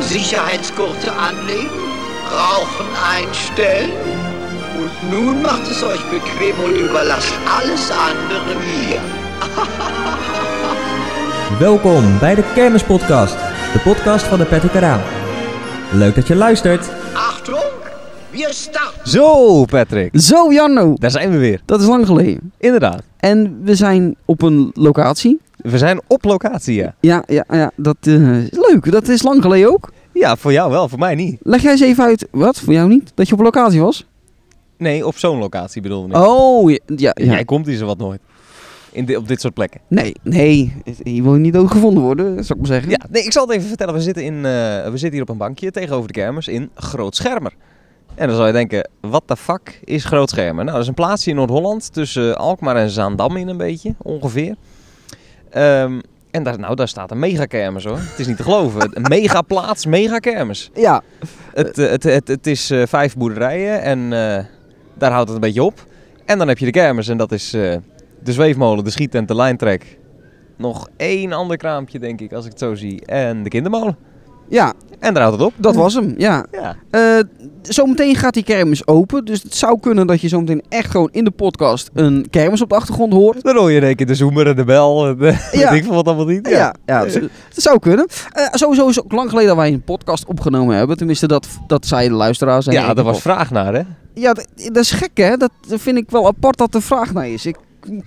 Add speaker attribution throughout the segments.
Speaker 1: Sicherheitsgurte anlegen, Rauchen einstellen. Und nun macht es euch bequem und überlasst alles andere mir.
Speaker 2: Welkom bij de Kermispodcast, de podcast van de Patrick Karaan. Leuk dat je luistert.
Speaker 1: Achtung, wir starten.
Speaker 3: Zo, Patrick.
Speaker 4: Zo, Janno.
Speaker 3: Daar zijn we weer.
Speaker 4: Dat is lang geleden.
Speaker 3: Inderdaad.
Speaker 4: En we zijn op een locatie.
Speaker 3: We zijn op locatie, ja.
Speaker 4: Ja, ja, ja dat eh, is leuk. Dat is lang geleden ook.
Speaker 3: Ja, voor jou wel, voor mij niet.
Speaker 4: Leg jij eens even uit, wat, voor jou niet, dat je op locatie was?
Speaker 3: Nee, op zo'n locatie bedoelde ik.
Speaker 4: Oh, ja. ja, ja.
Speaker 3: Jij komt hier zo wat nooit. In di- op dit soort plekken.
Speaker 4: Nee, nee, je wil niet ook gevonden worden, zou ik maar zeggen.
Speaker 3: Ja, nee, ik zal het even vertellen. We zitten, in, eh, we zitten hier op een bankje tegenover de kermers in Grootschermer. En dan zou je denken, wat de fuck is Grootschermer? Nou, dat is een plaatsje in Noord-Holland tussen Alkmaar en Zaandam in een beetje, ongeveer. Ehm, en daar, nou, daar staat een megakermis hoor. Het is niet te geloven. Een megaplaats, megakermis.
Speaker 4: Ja,
Speaker 3: Het, eh, het, het, het is eh, vijf boerderijen en eh, daar houdt het een beetje op. En dan heb je de kermis en dat is eh, de zweefmolen, de schietent, de lijntrek. Nog één ander kraampje denk ik, als ik het zo zie. En de kindermolen.
Speaker 4: ja,
Speaker 3: En daar houdt het op.
Speaker 4: dat was hem, ja.
Speaker 3: Ja.
Speaker 4: Eh, zometeen gaat die kermis open, dus het zou kunnen dat je zometeen echt gewoon in de podcast een kermis op de achtergrond hoort.
Speaker 3: Dan hoor je in één keer de zoemer en de bel en eh,
Speaker 4: Ja.
Speaker 3: weet ik veel wat allemaal niet.
Speaker 4: Ja, ja het, het zou kunnen. Eh, sowieso is het ook lang geleden dat wij een podcast opgenomen hebben. Tenminste, dat, dat zei de luisteraars. en
Speaker 3: ja
Speaker 4: ik
Speaker 3: daar was
Speaker 4: ook.
Speaker 3: vraag naar hè.
Speaker 4: Ja, dat, dat is gek hè. Dat vind ik wel apart dat er vraag naar is. Ik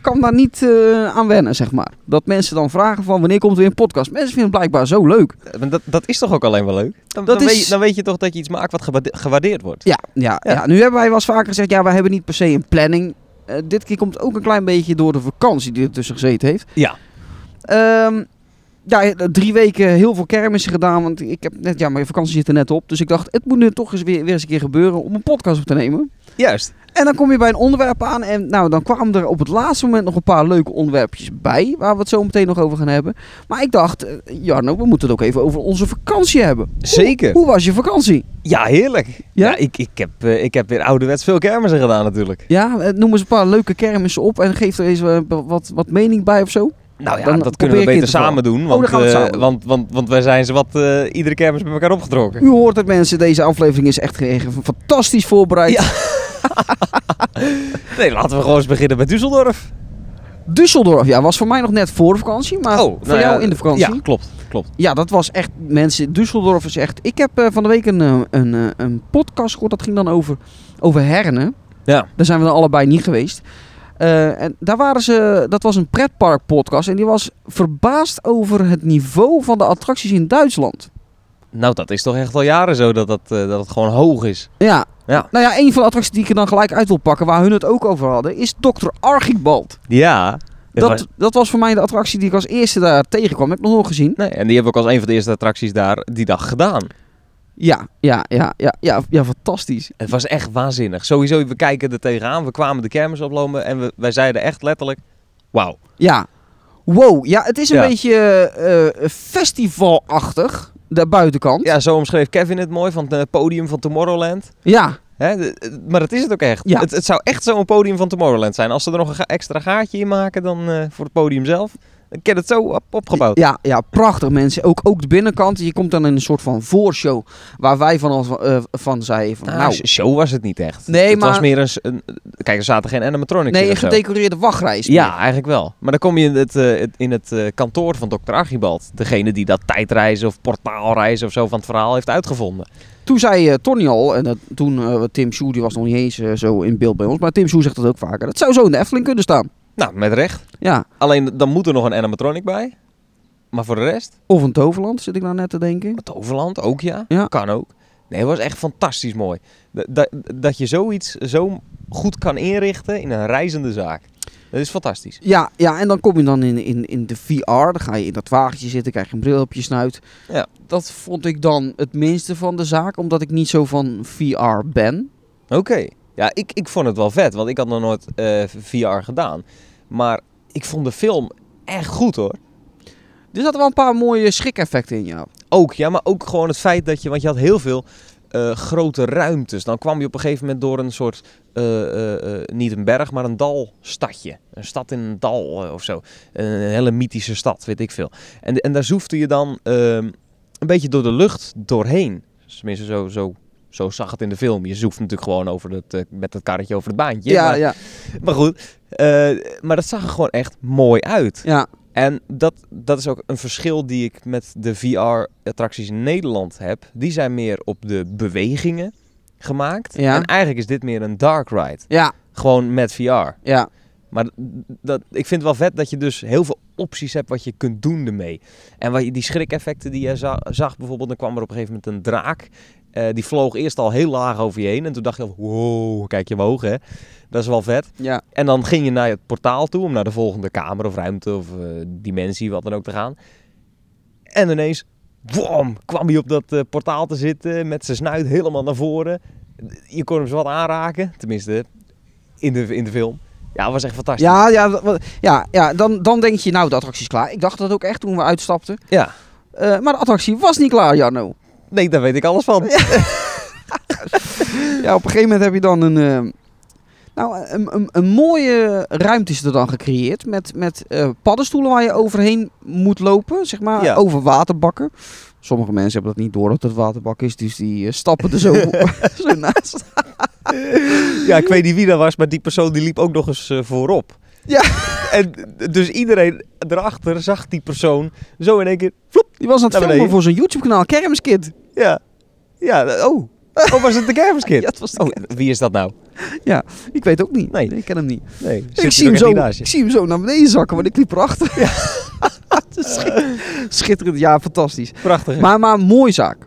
Speaker 4: kan daar niet eh, aan wennen, zeg maar. Dat mensen dan vragen van wanneer komt er weer een podcast. Mensen vinden het blijkbaar zo leuk.
Speaker 3: Eh, maar Dat, dat is toch ook alleen wel leuk? Dan,
Speaker 4: Dat
Speaker 3: dan, weet,
Speaker 4: is-
Speaker 3: je, dan weet je toch dat je iets maakt wat gewaarde- gewaardeerd wordt.
Speaker 4: Ja, ja,
Speaker 3: Ja.
Speaker 4: ja. nu hebben wij wel eens vaker gezegd, ja, wij hebben niet per se een planning. Eh, dit keer komt het ook een klein beetje door de vakantie die er tussen gezeten heeft.
Speaker 3: Ja.
Speaker 4: Ehm, ja, drie weken heel veel kermissen gedaan. Want ik heb net, ja, mijn vakantie zit er net op. Dus ik dacht, het moet nu toch eens weer, weer eens een keer gebeuren om een podcast op te nemen.
Speaker 3: Juist.
Speaker 4: En dan kom je bij een onderwerp aan. En nou, dan kwamen er op het laatste moment nog een paar leuke onderwerpjes bij. Waar we het zo meteen nog over gaan hebben. Maar ik dacht, eh, Jarno, we moeten het ook even over onze vakantie hebben. Hoe-
Speaker 3: Zeker.
Speaker 4: Hoe, was je vakantie?
Speaker 3: Ja, heerlijk. Ja,
Speaker 4: Ja?
Speaker 3: ik, ik, heb, eh, ik heb weer ouderwets veel kermissen gedaan natuurlijk.
Speaker 4: Ja, eh, noem eens een paar leuke kermissen op. En geef er eens eh, wat, wat mening bij of zo.
Speaker 3: Nou ja,
Speaker 4: Dan
Speaker 3: dat
Speaker 4: probeer
Speaker 3: kunnen we
Speaker 4: ik in
Speaker 3: beter
Speaker 4: te vallen.
Speaker 3: samen doen.
Speaker 4: Oh,
Speaker 3: Want,
Speaker 4: dan gaan we het
Speaker 3: eh,
Speaker 4: samen doen.
Speaker 3: want, want, want wij zijn ze wat eh, iedere kermis met elkaar opgetrokken.
Speaker 4: U hoort het mensen, deze aflevering is echt eh, fantastisch voorbereid.
Speaker 3: Ja. Nee, laten we gewoon eens beginnen met Düsseldorf.
Speaker 4: Düsseldorf, ja, was voor mij nog net voor de vakantie. Maar Ah, voor
Speaker 3: nou
Speaker 4: jou
Speaker 3: ja,
Speaker 4: in de vakantie.
Speaker 3: Ja, klopt. klopt.
Speaker 4: Ja, dat was echt, mensen, Düsseldorf is echt... Ik heb eh, van de week een, eh, een, eh, een podcast gehoord, dat ging dan over, over hernen.
Speaker 3: Ja.
Speaker 4: Daar zijn we dan allebei niet geweest. Eh, en daar waren ze, dat was een pretpark podcast en die was verbaasd over het niveau van de attracties in Duitsland.
Speaker 3: Nou, dat is toch echt al jaren zo dat, dat, eh, dat het gewoon hoog is.
Speaker 4: Ja,
Speaker 3: Ja.
Speaker 4: nou ja, een van de attracties die ik er dan gelijk uit wil pakken, waar hun het ook over hadden, is Dr. Archibald.
Speaker 3: Ja.
Speaker 4: Dat, dat was voor mij de attractie die ik als eerste daar tegenkwam, heb ik nog nooit gezien.
Speaker 3: nee, en die hebben we ook als een van de eerste attracties daar die dag gedaan.
Speaker 4: Ja, ja, ja, ja, ja, ja fantastisch.
Speaker 3: Het was echt waanzinnig. Sowieso, we kijken er tegenaan. We kwamen de kermis oplopen en we, wij zeiden echt letterlijk... Wauw.
Speaker 4: Ja. Wow, ja, het is een
Speaker 3: Ja.
Speaker 4: beetje eh, eh, festivalachtig, de buitenkant.
Speaker 3: Ja, zo omschreef Kevin het mooi van het eh, podium van Tomorrowland.
Speaker 4: ja.
Speaker 3: Hè, de- de- maar dat is het ook echt.
Speaker 4: Ja.
Speaker 3: Het, het zou echt zo'n podium van Tomorrowland zijn. Als ze er nog een ga- extra gaatje in maken dan eh, voor het podium zelf, dan kan het zo op- opgebouwd.
Speaker 4: Ja, ja, prachtig mensen. Ook, ook de binnenkant. Je komt dan in een soort van voorshow waar wij van, ons, eh, van zeiden van,
Speaker 3: Nou,
Speaker 4: nou,
Speaker 3: sh- show was het niet echt.
Speaker 4: Nee,
Speaker 3: het
Speaker 4: maar-
Speaker 3: was meer een, s- een- Kijk, er zaten geen animatronics
Speaker 4: nee,
Speaker 3: in
Speaker 4: een
Speaker 3: of zo.
Speaker 4: gedecoreerde wachtreis.
Speaker 3: Ja, eigenlijk wel. Maar dan kom je in het, eh, het- in het eh, kantoor van dokter Archibald. Degene die dat tijdreizen of portaalreizen of zo van het verhaal heeft uitgevonden.
Speaker 4: Toen zei eh, Tony al, en dat, toen eh, Tim Sjoe, die was nog niet eens eh, zo in beeld bij ons, maar Tim Sjoe zegt dat ook vaker. Dat zou zo in de Efteling kunnen staan.
Speaker 3: Nou, met recht.
Speaker 4: Ja,
Speaker 3: Alleen, dan moet er nog een animatronic bij. Maar voor de rest...
Speaker 4: of een Toverland zit ik nou net te denken.
Speaker 3: Het Overland ook, ja.
Speaker 4: Ja.
Speaker 3: Kan ook. Nee, het was echt fantastisch mooi. Dat, dat, dat je zoiets zo goed kan inrichten in een reizende zaak. Dat is fantastisch.
Speaker 4: Ja, ja, en dan kom je dan in, in, in de VR. Dan ga je in dat wagentje zitten, krijg je een bril op je snuit.
Speaker 3: Ja.
Speaker 4: Dat vond ik dan het minste van de zaak, omdat ik niet zo van VR ben.
Speaker 3: Oké. Ja, ik, ik vond het wel vet, want ik had nog nooit eh, VR gedaan. Maar ik vond de film echt goed hoor.
Speaker 4: Er zaten Dus wel een paar mooie schrik-effecten in, ja.
Speaker 3: Ook, ja, maar ook gewoon het feit dat je, want je had heel veel eh, grote ruimtes. Dan kwam je op een gegeven moment door een soort, eh, eh, eh, niet een berg, maar een dalstadje. Een stad in een dal eh, of zo. Een, een hele mythische stad, weet ik veel. En, en daar zoefde je dan ehm, een beetje door de lucht doorheen. Tenminste, zo, zo, zo zag het in de film. Je zoeft natuurlijk gewoon over het, eh, met dat karretje over het baantje.
Speaker 4: ja,
Speaker 3: maar,
Speaker 4: ja,
Speaker 3: maar goed, eh, maar dat zag er gewoon echt mooi uit.
Speaker 4: ja.
Speaker 3: En dat, dat is ook een verschil die ik met de VR-attracties in Nederland heb. Die zijn meer op de bewegingen gemaakt.
Speaker 4: Ja.
Speaker 3: En eigenlijk is dit meer een dark ride.
Speaker 4: Ja,
Speaker 3: Gewoon met VR.
Speaker 4: ja.
Speaker 3: Maar d- dat, ik vind het wel vet dat je dus heel veel opties hebt wat je kunt doen ermee. En wat je, die schrikeffecten die je za- zag bijvoorbeeld, dan kwam er op een gegeven moment een draak. Eh, die vloog eerst al heel laag over je heen. En toen dacht je al, wow, kijk je omhoog hè. Dat is wel vet.
Speaker 4: ja.
Speaker 3: En dan ging je naar het portaal toe om naar de volgende kamer of ruimte of eh, dimensie, wat dan ook te gaan. En ineens, wam, kwam hij op dat eh, portaal te zitten met zijn snuit helemaal naar voren. Je kon hem zo wat aanraken, tenminste in de, in de film. Ja, het was echt fantastisch.
Speaker 4: Ja, ja, dat- wat- ja, ja dan, dan denk je, nou, de attractie is klaar. Ik dacht dat ook echt toen we uitstapten.
Speaker 3: Ja.
Speaker 4: Eh, maar de attractie was niet klaar, Jarno.
Speaker 3: Nee, daar weet ik alles van.
Speaker 4: Ja, op een gegeven moment heb je dan een... eh, nou, een, een, een mooie ruimte is er dan gecreëerd. Met, met eh, paddenstoelen waar je overheen moet lopen. Zeg maar,
Speaker 3: Ja.
Speaker 4: over waterbakken. Sommige mensen hebben dat niet door dat het waterbak is. Dus die eh, stappen er zo, zo naast.
Speaker 3: Ja, ik weet niet wie dat was, maar die persoon die liep ook nog eens eh, voorop.
Speaker 4: Ja.
Speaker 3: En dus iedereen erachter zag die persoon zo in één keer, vloep,
Speaker 4: Die was aan het
Speaker 3: Naar
Speaker 4: filmen
Speaker 3: beneden.
Speaker 4: voor zijn YouTube-kanaal Kermiskid.
Speaker 3: Ja. Ja, oh. Oh, was het de kermiskid?
Speaker 4: Ja, het was de
Speaker 3: oh, wie is dat nou?
Speaker 4: Ik weet ook niet.
Speaker 3: Nee.
Speaker 4: ik ken hem niet.
Speaker 3: Nee,
Speaker 4: Ik zie, hem zo, ik zie hem zo naar beneden zakken, want ik liep erachter. Ja. Schitterend, ja, fantastisch.
Speaker 3: Prachtig. hè?
Speaker 4: Maar, maar mooi zaak.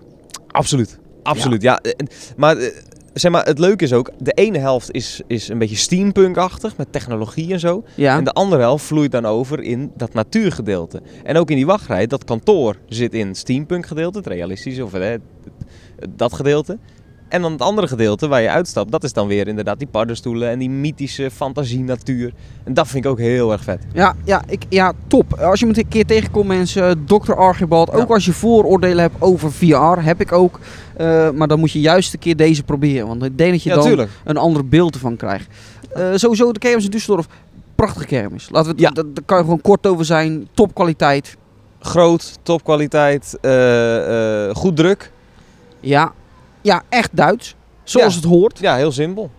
Speaker 3: absoluut. Absoluut, ja. En- Maar, eh, zeg maar het leuke is ook, de ene helft is, is een beetje steampunk-achtig, met technologie en zo.
Speaker 4: Ja,
Speaker 3: En de andere helft vloeit dan over in dat natuurgedeelte. En ook in die wachtrij, dat kantoor zit in het steampunk-gedeelte, het realistische, of eh, dat gedeelte. En dan het andere gedeelte waar je uitstapt, dat is dan weer inderdaad die paddenstoelen en die mythische fantasie-natuur. En dat vind ik ook heel erg vet.
Speaker 4: ja, ja, ik, ja top. Als je me een keer tegenkomt, mensen, Dr. Archibald. Ook
Speaker 3: Ja.
Speaker 4: als je vooroordelen hebt over VR, heb ik ook. Eh, maar dan moet je juist een keer deze proberen. Want ik denk dat je
Speaker 3: Ja,
Speaker 4: dan
Speaker 3: tuurlijk.
Speaker 4: een ander beeld ervan krijgt. Eh, sowieso, de kermis in Düsseldorf, prachtige kermis. Laten we, het-
Speaker 3: Ja.
Speaker 4: dat- Daar kan je gewoon kort over zijn. Topkwaliteit.
Speaker 3: Groot, topkwaliteit, eh, eh, goed druk.
Speaker 4: Ja. ja, echt Duits. Zoals
Speaker 3: Ja.
Speaker 4: het hoort.
Speaker 3: Ja, heel simpel.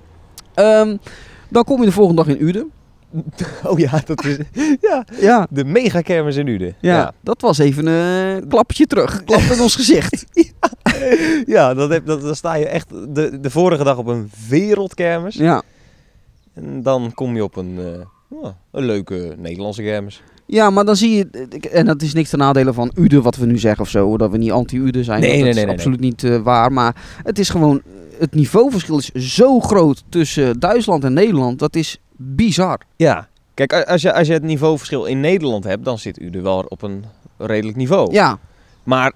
Speaker 4: Ehm, dan kom je de volgende dag in Uden.
Speaker 3: Oh ja, dat is
Speaker 4: Ja.
Speaker 3: de megakermis in Uden.
Speaker 4: Ja, dat was even een klapje terug. Klap in ons gezicht.
Speaker 3: ja dat heb, dat, dan sta je echt de, de vorige dag op een wereldkermis.
Speaker 4: Ja.
Speaker 3: En dan kom je op een, eh, ja, een leuke Nederlandse kermis.
Speaker 4: ja, maar dan zie je... En dat is niks ten nadele van Ude, wat we nu zeggen of zo. Dat we niet anti-Ude zijn.
Speaker 3: Nee,
Speaker 4: dat
Speaker 3: nee,
Speaker 4: is
Speaker 3: nee, nee,
Speaker 4: absoluut niet eh, waar. Maar het is gewoon... Het niveauverschil is zo groot tussen Duitsland en Nederland. Dat is bizar.
Speaker 3: Ja. Kijk, a- als je, als je het niveauverschil in Nederland hebt, dan zit Uden wel op een redelijk niveau.
Speaker 4: Ja,
Speaker 3: Maar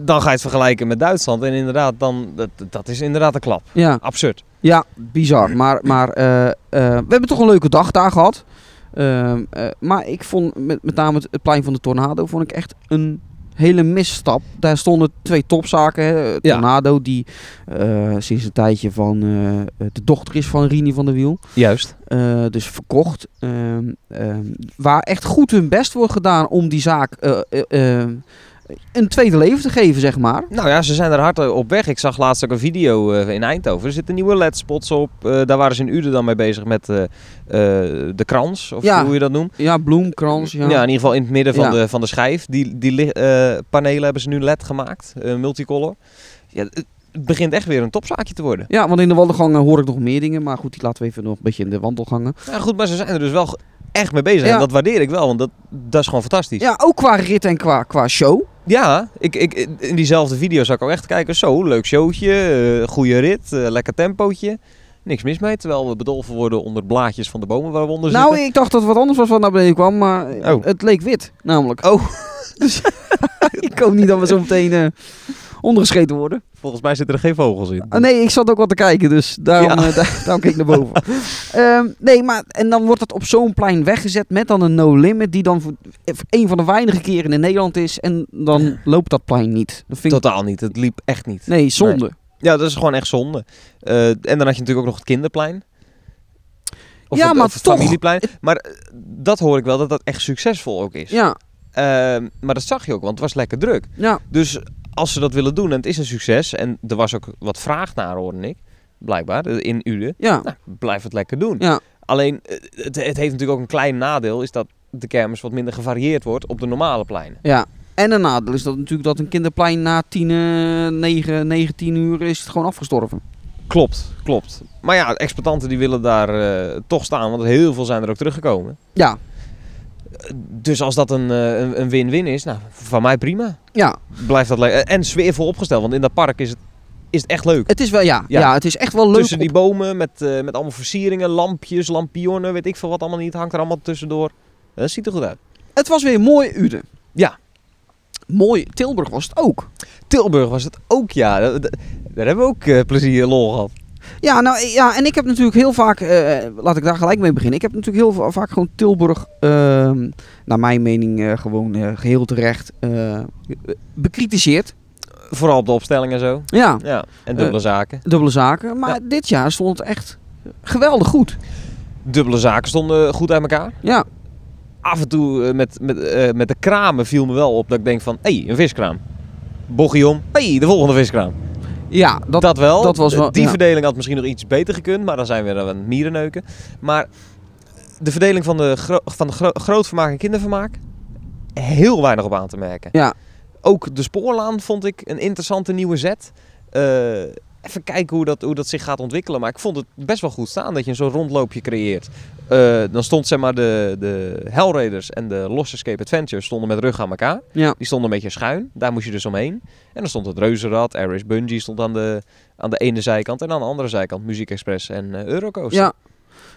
Speaker 3: dan ga je het vergelijken met Duitsland. En inderdaad, dan, dat, dat is inderdaad een klap.
Speaker 4: ja,
Speaker 3: Absurd.
Speaker 4: ja, bizar. Maar, maar eh, eh, we hebben toch een leuke dag daar gehad. Ehm, eh, maar ik vond met, met name het, het plein van de Tornado vond ik echt een hele misstap. Daar stonden twee topzaken. Hè.
Speaker 3: Ja.
Speaker 4: Tornado, die eh, sinds een tijdje van eh, de dochter is van Rini van der Wiel.
Speaker 3: Juist.
Speaker 4: Eh, dus verkocht. Ehm, ehm, waar echt goed hun best wordt gedaan om die zaak eh, eh, eh, een tweede leven te geven, zeg maar.
Speaker 3: Nou ja, ze zijn er hard op weg. Ik zag laatst ook een video eh, in Eindhoven. Er zitten nieuwe ledspots op. Eh, daar waren ze in Uden dan mee bezig met eh, eh, de krans, of
Speaker 4: Ja.
Speaker 3: hoe je dat noemt.
Speaker 4: Ja, bloemkrans.
Speaker 3: in ieder geval in het midden van,
Speaker 4: Ja.
Speaker 3: de, van de schijf. Die, die li- eh, panelen hebben ze nu led gemaakt, eh, multicolor. Ja, het het begint echt weer een topzaakje te worden.
Speaker 4: Ja, want in de wandelgangen hoor ik nog meer dingen. Maar goed, die laten we even nog een beetje in de wandelgangen.
Speaker 3: Ja, goed, maar ze zijn er dus wel echt mee bezig.
Speaker 4: Ja.
Speaker 3: En dat waardeer ik wel, want dat, dat is gewoon fantastisch.
Speaker 4: Ja, ook qua rit en qua, qua show.
Speaker 3: Ja, ik, ik, in diezelfde video zag ik ook echt kijken. Zo, leuk showtje, eh goede rit, eh, lekker tempootje. Niks mis mee, terwijl we bedolven worden onder blaadjes van de bomen waar we onder
Speaker 4: Nou,
Speaker 3: zitten.
Speaker 4: ik dacht dat het wat anders was wat naar beneden kwam, maar eh,
Speaker 3: Dus Oh.
Speaker 4: het leek wit, namelijk.
Speaker 3: Oh.
Speaker 4: dus ik hoop niet dat we zo meteen eh, ondergescheten worden.
Speaker 3: Volgens mij zitten er geen vogels in.
Speaker 4: Ah, nee, ik zat ook wat te kijken, dus daarom,
Speaker 3: Ja.
Speaker 4: eh, daar- daarom keek ik naar boven. Ehm, nee, maar en dan wordt het op zo'n plein weggezet met dan een no-limit, die dan voor voor een van de weinige keren in Nederland is. En dan loopt dat plein niet. Dat vind ik...
Speaker 3: Totaal niet, het liep echt niet.
Speaker 4: Nee, zonde.
Speaker 3: Ja, dat is gewoon echt zonde. Eh, en dan had je natuurlijk ook nog het kinderplein. Of
Speaker 4: Ja,
Speaker 3: het,
Speaker 4: maar
Speaker 3: of het
Speaker 4: toch.
Speaker 3: familieplein. Maar eh, dat hoor ik wel, dat dat echt succesvol ook is.
Speaker 4: Ja,
Speaker 3: Ehm, maar dat zag je ook, want het was lekker druk.
Speaker 4: ja.
Speaker 3: Dus als ze dat willen doen en het is een succes... en er was ook wat vraag naar, hoorde ik, blijkbaar, eh, in Uden...
Speaker 4: Ja,
Speaker 3: Nou, blijf het lekker doen.
Speaker 4: ja,
Speaker 3: Alleen, eh, het, het heeft natuurlijk ook een klein nadeel... is dat de kermis wat minder gevarieerd wordt op de normale pleinen.
Speaker 4: ja. En een nadeel is dat natuurlijk dat een kinderplein na 10, eh, 9, 9, 10 uur is het gewoon afgestorven.
Speaker 3: Klopt, klopt. Maar ja, exploitanten die willen daar eh, toch staan... want heel veel zijn er ook teruggekomen.
Speaker 4: Ja,
Speaker 3: Dus als dat een, eh, een een win-win is, nou, van mij prima.
Speaker 4: ja.
Speaker 3: Blijft dat leuk. En sfeervol opgesteld, want in dat park is het, is het echt leuk.
Speaker 4: Het is wel, ja. Ja, Dus
Speaker 3: Ja.
Speaker 4: het is echt wel leuk.
Speaker 3: Tussen die bomen met, eh, met allemaal versieringen, lampjes, lampionnen, weet ik veel wat allemaal niet. Hangt er allemaal tussendoor. Dat ziet er goed uit.
Speaker 4: op- Het was weer mooi Uden.
Speaker 3: Ja.
Speaker 4: Mooi Tilburg was het ook.
Speaker 3: Tilburg was het ook, ja. Da- da- Daar hebben we ook eh, plezier en lol gehad.
Speaker 4: Ja, nou ja, en ik heb natuurlijk heel vaak, eh, laat ik daar gelijk mee beginnen. Ik heb natuurlijk heel va- vaak gewoon Tilburg, ehm, naar mijn mening eh, gewoon eh, geheel terecht, eh, bekritiseerd.
Speaker 3: Vooral op de opstelling en zo.
Speaker 4: Ja,
Speaker 3: Ja, en dubbele zaken.
Speaker 4: dubbele zaken. Maar dit jaar stond het echt geweldig goed.
Speaker 3: Dubbele zaken stonden goed uit elkaar.
Speaker 4: Ja,
Speaker 3: Af en toe eh, met, met, eh, met de kramen viel me wel op dat ik denk van... Hé, hey, een viskraam. Bochie om. hey, de volgende viskraam.
Speaker 4: ja dat,
Speaker 3: Dat, wel.
Speaker 4: dat was wel-
Speaker 3: die
Speaker 4: ja.
Speaker 3: verdeling had misschien nog iets beter gekund, maar dan zijn we dan aan het mierenneuken. Maar de verdeling van de, gro- van de gro- grootvermaak en kindervermaak, heel weinig op aan te merken.
Speaker 4: Ja.
Speaker 3: Ook de spoorlaan vond ik een interessante nieuwe zet. Eh, even kijken hoe dat, hoe dat zich gaat ontwikkelen. Maar ik vond het best wel goed staan dat je zo'n rondloopje creëert. Eh, dan stond zeg maar de, de Hellraiders en de Lost Escape Adventures stonden met rug aan elkaar.
Speaker 4: ja,
Speaker 3: Die stond een beetje schuin. Daar moest je dus omheen. En dan stond het Reuzenrad, Irish Bungee stond aan de, aan de ene zijkant. En aan de andere zijkant Muziek Express en eh, Eurocoaster.
Speaker 4: ja.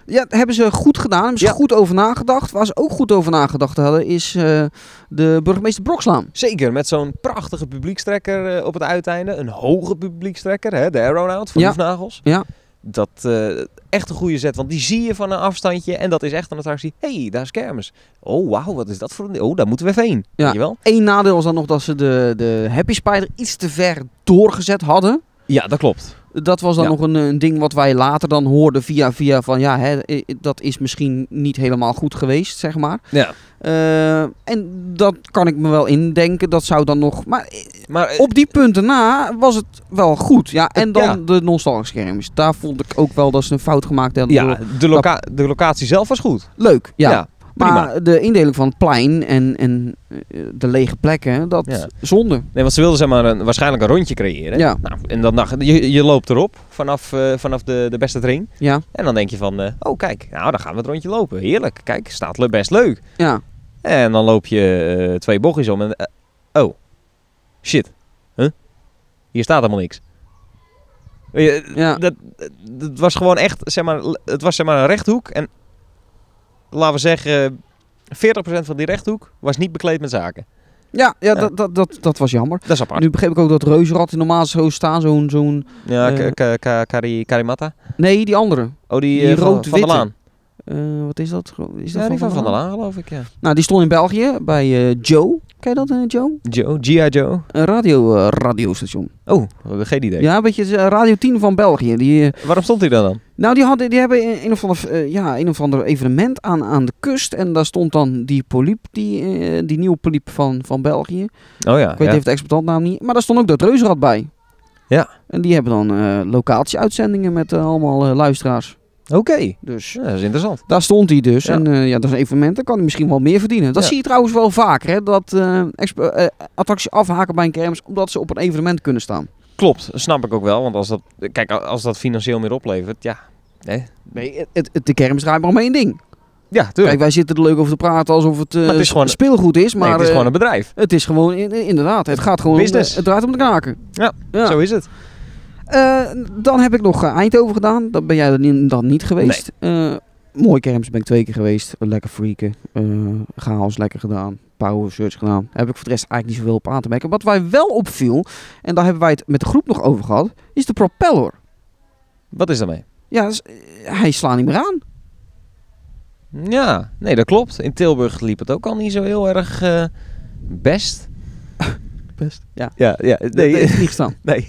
Speaker 4: Ja, dat hebben ze goed gedaan. Hebben ze
Speaker 3: Ja.
Speaker 4: goed over nagedacht. Waar ze ook goed over nagedacht hadden, is eh, de burgemeester Brokslaan.
Speaker 3: Zeker, met zo'n prachtige publiekstrekker eh, op het uiteinde. Een hoge publiekstrekker, hè, de Aeronaut van
Speaker 4: Ja.
Speaker 3: Hoefnagels.
Speaker 4: Ja.
Speaker 3: Dat eh, echt een goede zet, want die zie je van een afstandje. En dat is echt een attractie. Hé, hey, daar is kermis. Oh, wauw, wat is dat voor een... Oh, daar moeten we even heen.
Speaker 4: Ja.
Speaker 3: Weet je wel?
Speaker 4: Eén nadeel was dan nog dat ze de, de Happy Spider iets te ver doorgezet hadden.
Speaker 3: Ja, dat klopt.
Speaker 4: Dat was dan
Speaker 3: Ja.
Speaker 4: nog een, een ding wat wij later dan hoorden via via van ja, hè, eh, dat is misschien niet helemaal goed geweest, zeg maar.
Speaker 3: Ja.
Speaker 4: Eh, en dat kan ik me wel indenken, dat zou dan nog... Maar eh,
Speaker 3: Maar eh,
Speaker 4: op die punten na was het wel goed. Ja, en dan
Speaker 3: Ja.
Speaker 4: de nostalgische kermis. Daar vond ik ook wel dat ze een fout gemaakt hebben.
Speaker 3: ja, de, loca- de locatie zelf was goed.
Speaker 4: Leuk, ja.
Speaker 3: Ja,
Speaker 4: maar de indeling van het plein en, en eh, de lege plekken, dat
Speaker 3: Ja.
Speaker 4: zonde.
Speaker 3: Nee, want ze wilden zeg maar een, waarschijnlijk een rondje creëren.
Speaker 4: Ja.
Speaker 3: Nou, en dan dacht je, je loopt erop vanaf, eh, vanaf de, de beste train.
Speaker 4: Ja,
Speaker 3: En dan denk je van, eh, oh kijk, nou dan gaan we het rondje lopen. Heerlijk, kijk, staat le- best leuk.
Speaker 4: ja.
Speaker 3: En dan loop je eh, twee bochtjes om en, eh, oh, shit, huh? Hier staat helemaal niks. Weet je,
Speaker 4: Ja.
Speaker 3: Dat, eh, dat was gewoon echt, zeg maar, het was zeg maar een rechthoek. En laten we zeggen, 40% van die rechthoek was niet bekleed met zaken.
Speaker 4: Ja, ja,
Speaker 3: Ja.
Speaker 4: Dat, dat, dat, dat was jammer.
Speaker 3: Dat is apart.
Speaker 4: Nu begreep ik ook dat reuzenrad in normaal zo staan, zo'n... zo'n
Speaker 3: ja,
Speaker 4: eh,
Speaker 3: Ka- Ka- Ka- Kari- Karimata.
Speaker 4: nee, die andere.
Speaker 3: Oh, die,
Speaker 4: Die
Speaker 3: eh, van,
Speaker 4: rood-witte.
Speaker 3: van de Laan.
Speaker 4: Eh, wat is dat? Is dat
Speaker 3: ja, die van Van der
Speaker 4: Laan?
Speaker 3: Laan, geloof ik, ja.
Speaker 4: Nou, die stond in België bij eh, Joe. Ken je dat, eh, Joe?
Speaker 3: Joe, G.I. Joe.
Speaker 4: Een radio, eh, radiostation.
Speaker 3: Oh, geen idee.
Speaker 4: Ja, een beetje eh, Radio 10 van België. Die, eh,
Speaker 3: Waarom stond hij daar dan?
Speaker 4: nou, die, hadden, die hebben een- een of, ander, eh, ja, een of ander evenement aan, aan de kust. En daar stond dan die poliep, die, eh, die nieuwe poliep van, van België.
Speaker 3: Oh ja,
Speaker 4: Ik weet
Speaker 3: ja.
Speaker 4: even de exploitantnaam niet. Maar daar stond ook dat reuzenrad bij.
Speaker 3: Ja.
Speaker 4: En die hebben dan eh locatie-uitzendingen met eh, allemaal eh, luisteraars.
Speaker 3: oké.
Speaker 4: Dus
Speaker 3: Ja, dat is interessant.
Speaker 4: Daar stond hij dus.
Speaker 3: Ja.
Speaker 4: En eh, ja, dat is een evenement. Dan kan hij misschien wel meer verdienen. Dat
Speaker 3: Ja.
Speaker 4: zie je trouwens wel vaker. Hè? Dat eh, exp- eh, attracties afhaken bij een kermis. Omdat ze op een evenement kunnen staan.
Speaker 3: Klopt, dat snap ik ook wel. Want als dat, kijk, als dat financieel meer oplevert, ja. Hè?
Speaker 4: Nee, het, het- de kermis draait maar om één ding.
Speaker 3: Ja,
Speaker 4: Kijk,
Speaker 3: tuurlijk.
Speaker 4: wij zitten er leuk over te praten alsof het, eh,
Speaker 3: Maar het is gewoon-
Speaker 4: speelgoed is.
Speaker 3: Nee,
Speaker 4: Maar
Speaker 3: het is
Speaker 4: eh,
Speaker 3: gewoon een bedrijf.
Speaker 4: het is gewoon in- in- inderdaad. Het gaat gewoon om de-
Speaker 3: Business.
Speaker 4: het draait om de knaken.
Speaker 3: Ja,
Speaker 4: ja.
Speaker 3: Zo is het.
Speaker 4: Eh, dan heb ik nog eh, Eindhoven gedaan. Dat ben jij dan, in- dan niet geweest. Eh, mooie kermis ben ik twee keer geweest. Lekker freaken. Eh chaos lekker gedaan. Power search gedaan. Heb ik voor de rest eigenlijk niet zoveel op aan te merken. Wat wij wel opviel, en daar hebben wij het met de groep nog over gehad, is de propeller.
Speaker 3: Wat is daarmee?
Speaker 4: Ja, dat is- eh, hij slaat niet meer aan.
Speaker 3: Ja, nee, dat klopt. In Tilburg liep het ook al niet zo heel erg eh, best.
Speaker 4: Best. Ja.
Speaker 3: Ja, ja
Speaker 4: Nee, dat
Speaker 3: nee,
Speaker 4: heeft niet gestaan.
Speaker 3: nee.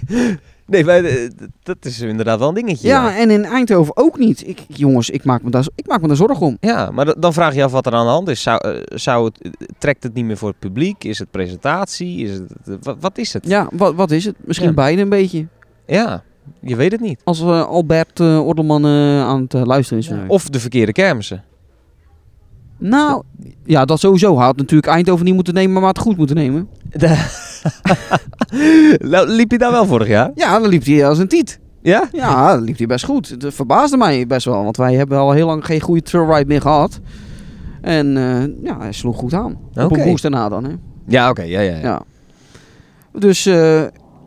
Speaker 3: Nee, maar, eh, d- dat is inderdaad wel een dingetje.
Speaker 4: Ja. en in Eindhoven ook niet. Ik, jongens, ik maak me daar, ik maak me daar zorgen om.
Speaker 3: Ja, maar da- dan vraag je af wat er aan de hand is. Zou, eh, zou het, eh, trekt het niet meer voor het publiek? Is het presentatie? Is het, eh, wa- wat is het?
Speaker 4: Ja, wat, wat is het? Misschien
Speaker 3: Ja.
Speaker 4: beide een beetje.
Speaker 3: Ja, je weet het niet.
Speaker 4: Als eh, Albert eh, Ordelman eh, aan het eh, luisteren is. vandaag.
Speaker 3: Of de verkeerde kermissen.
Speaker 4: Nou, ja, dat sowieso. Hij had natuurlijk Eindhoven niet moeten nemen, maar had het goed moeten nemen.
Speaker 3: Nou, liep je daar wel vorig jaar?
Speaker 4: Ja, dan liep hij als een tiet.
Speaker 3: Ja?
Speaker 4: Ja, dan liep hij best goed. Het verbaasde mij best wel, want wij hebben al heel lang geen goede trailride meer gehad. En eh, ja, hij sloeg goed aan. Op
Speaker 3: Oké.
Speaker 4: een boost daarna dan, hè.
Speaker 3: Ja, oké. ja, ja, ja.
Speaker 4: Ja. Dus, eh,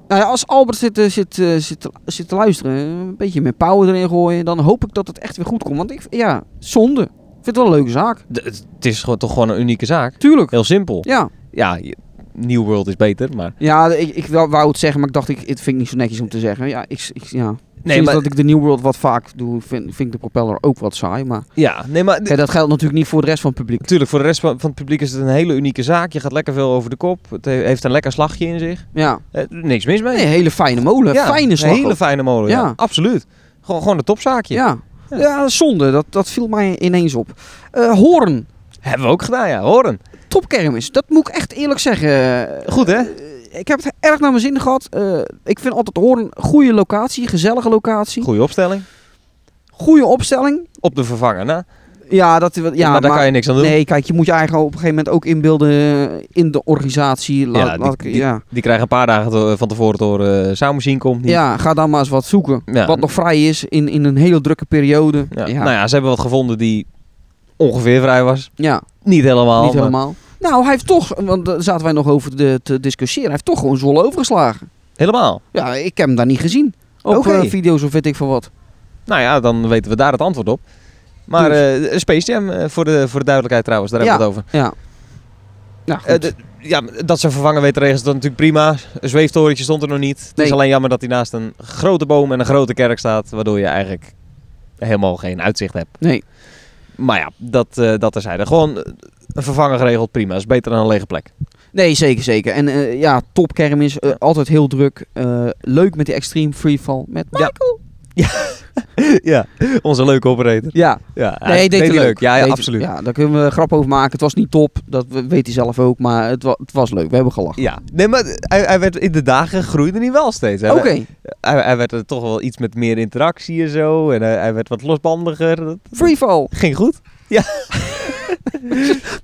Speaker 4: nou ja, als Albert zit, eh, zit, eh, zit, te- zit te luisteren, eh, een beetje meer power erin gooien, dan hoop ik dat het echt weer goed komt. Want ik, ja, zonde. Ik vind het wel een leuke zaak.
Speaker 3: D- Het het is gewoon, toch gewoon een unieke zaak.
Speaker 4: Tuurlijk.
Speaker 3: Heel simpel.
Speaker 4: Ja.
Speaker 3: Ja, je- New World is beter, maar...
Speaker 4: Ja, ik, ik wou, wou het zeggen, maar ik dacht, ik, het vind ik niet zo netjes om te zeggen. Ja, ik, ik- ja. Sinds
Speaker 3: maar-
Speaker 4: dat ik de New World wat vaak doe, vind, vind ik de propeller ook wat saai. Maar
Speaker 3: Ja, nee, maar...
Speaker 4: Kijk, dat geldt natuurlijk niet voor de rest van het publiek.
Speaker 3: Natuurlijk, voor de rest van, van het publiek is het een hele unieke zaak. Je gaat lekker veel over de kop. Het he- heeft een lekker slagje in zich.
Speaker 4: Ja,
Speaker 3: Eh, niks mis mee.
Speaker 4: nee, hele fijne molen,
Speaker 3: Ja,
Speaker 4: fijne slag.
Speaker 3: Een hele fijne molen, ja.
Speaker 4: Ja.
Speaker 3: Absoluut. Gewoon, gewoon een topzaakje.
Speaker 4: ja.
Speaker 3: Ja.
Speaker 4: Ja. zonde, dat, dat viel mij ineens op. Eh Hoorn,
Speaker 3: Hebben we ook gedaan, ja. Horen.
Speaker 4: topkermis, dat moet ik echt eerlijk zeggen.
Speaker 3: Goed, hè?
Speaker 4: Ik heb het erg naar mijn zin gehad. Eh, ik vind altijd Hoorn een goede locatie, gezellige locatie.
Speaker 3: Goeie opstelling.
Speaker 4: Goede opstelling.
Speaker 3: Op de vervanger, nou.
Speaker 4: Ja, dat, ja,
Speaker 3: Ja, maar daar kan je niks aan doen.
Speaker 4: Nee, kijk, je moet je eigen op een gegeven moment ook inbeelden eh, in de organisatie. Laat,
Speaker 3: Ja, die-
Speaker 4: laat ik-
Speaker 3: die-
Speaker 4: ja.
Speaker 3: Die krijgen een paar dagen te- van tevoren door eh Soundmachine komt. niet.
Speaker 4: ja, ga dan maar eens wat zoeken.
Speaker 3: Ja.
Speaker 4: Wat nog vrij is in, in een hele drukke periode.
Speaker 3: Ja.
Speaker 4: Ja, ja.
Speaker 3: Nou ja, ze hebben wat gevonden die ongeveer vrij was. Niet helemaal.
Speaker 4: niet
Speaker 3: maar-
Speaker 4: helemaal. Nou, hij heeft toch, want daar zaten wij nog over de, te discussiëren, hij heeft toch gewoon Zwolle overgeslagen.
Speaker 3: Helemaal.
Speaker 4: Ja, ik heb hem daar niet gezien. Op
Speaker 3: Oké.
Speaker 4: eh, video's of weet ik van wat.
Speaker 3: Nou ja, dan weten we daar het antwoord op. Maar eh Space Jam, eh, voor, de, voor de duidelijkheid trouwens, daar
Speaker 4: Ja.
Speaker 3: hebben we het over.
Speaker 4: Ja. Nou,
Speaker 3: Eh,
Speaker 4: goed.
Speaker 3: de- ja, dat ze vervangen weten regels, dat is natuurlijk prima. Een zweeftorentje stond er nog niet. Het is
Speaker 4: Nee.
Speaker 3: alleen jammer dat hij naast een grote boom en een grote kerk staat. Waardoor je eigenlijk helemaal geen uitzicht hebt.
Speaker 4: nee.
Speaker 3: Maar ja, dat, eh dat terzijde. Gewoon eh, een vervanger geregeld, prima. Is beter dan een lege plek.
Speaker 4: nee, zeker, zeker. En eh, ja, topkermis, eh, altijd heel druk. Eh, leuk met die extreme freefall. Met Michael.
Speaker 3: ja, onze leuke operator.
Speaker 4: ja.
Speaker 3: Ja,
Speaker 4: Nee, hij deed het leuk.
Speaker 3: Ja, ja
Speaker 4: Deed-
Speaker 3: absoluut. Ja.
Speaker 4: Ja, daar kunnen we een eh, grap over maken. Het was niet top, dat we- weet hij zelf ook, maar het, wa- het was leuk. We hebben gelachen.
Speaker 3: nee, maar hij, hij werd in de dagen groeide hij wel steeds. Hij,
Speaker 4: Oké,
Speaker 3: hij, hij werd er toch wel iets met meer interactie en zo. En hij, hij werd wat losbandiger. Dat
Speaker 4: freefall.
Speaker 3: ging goed.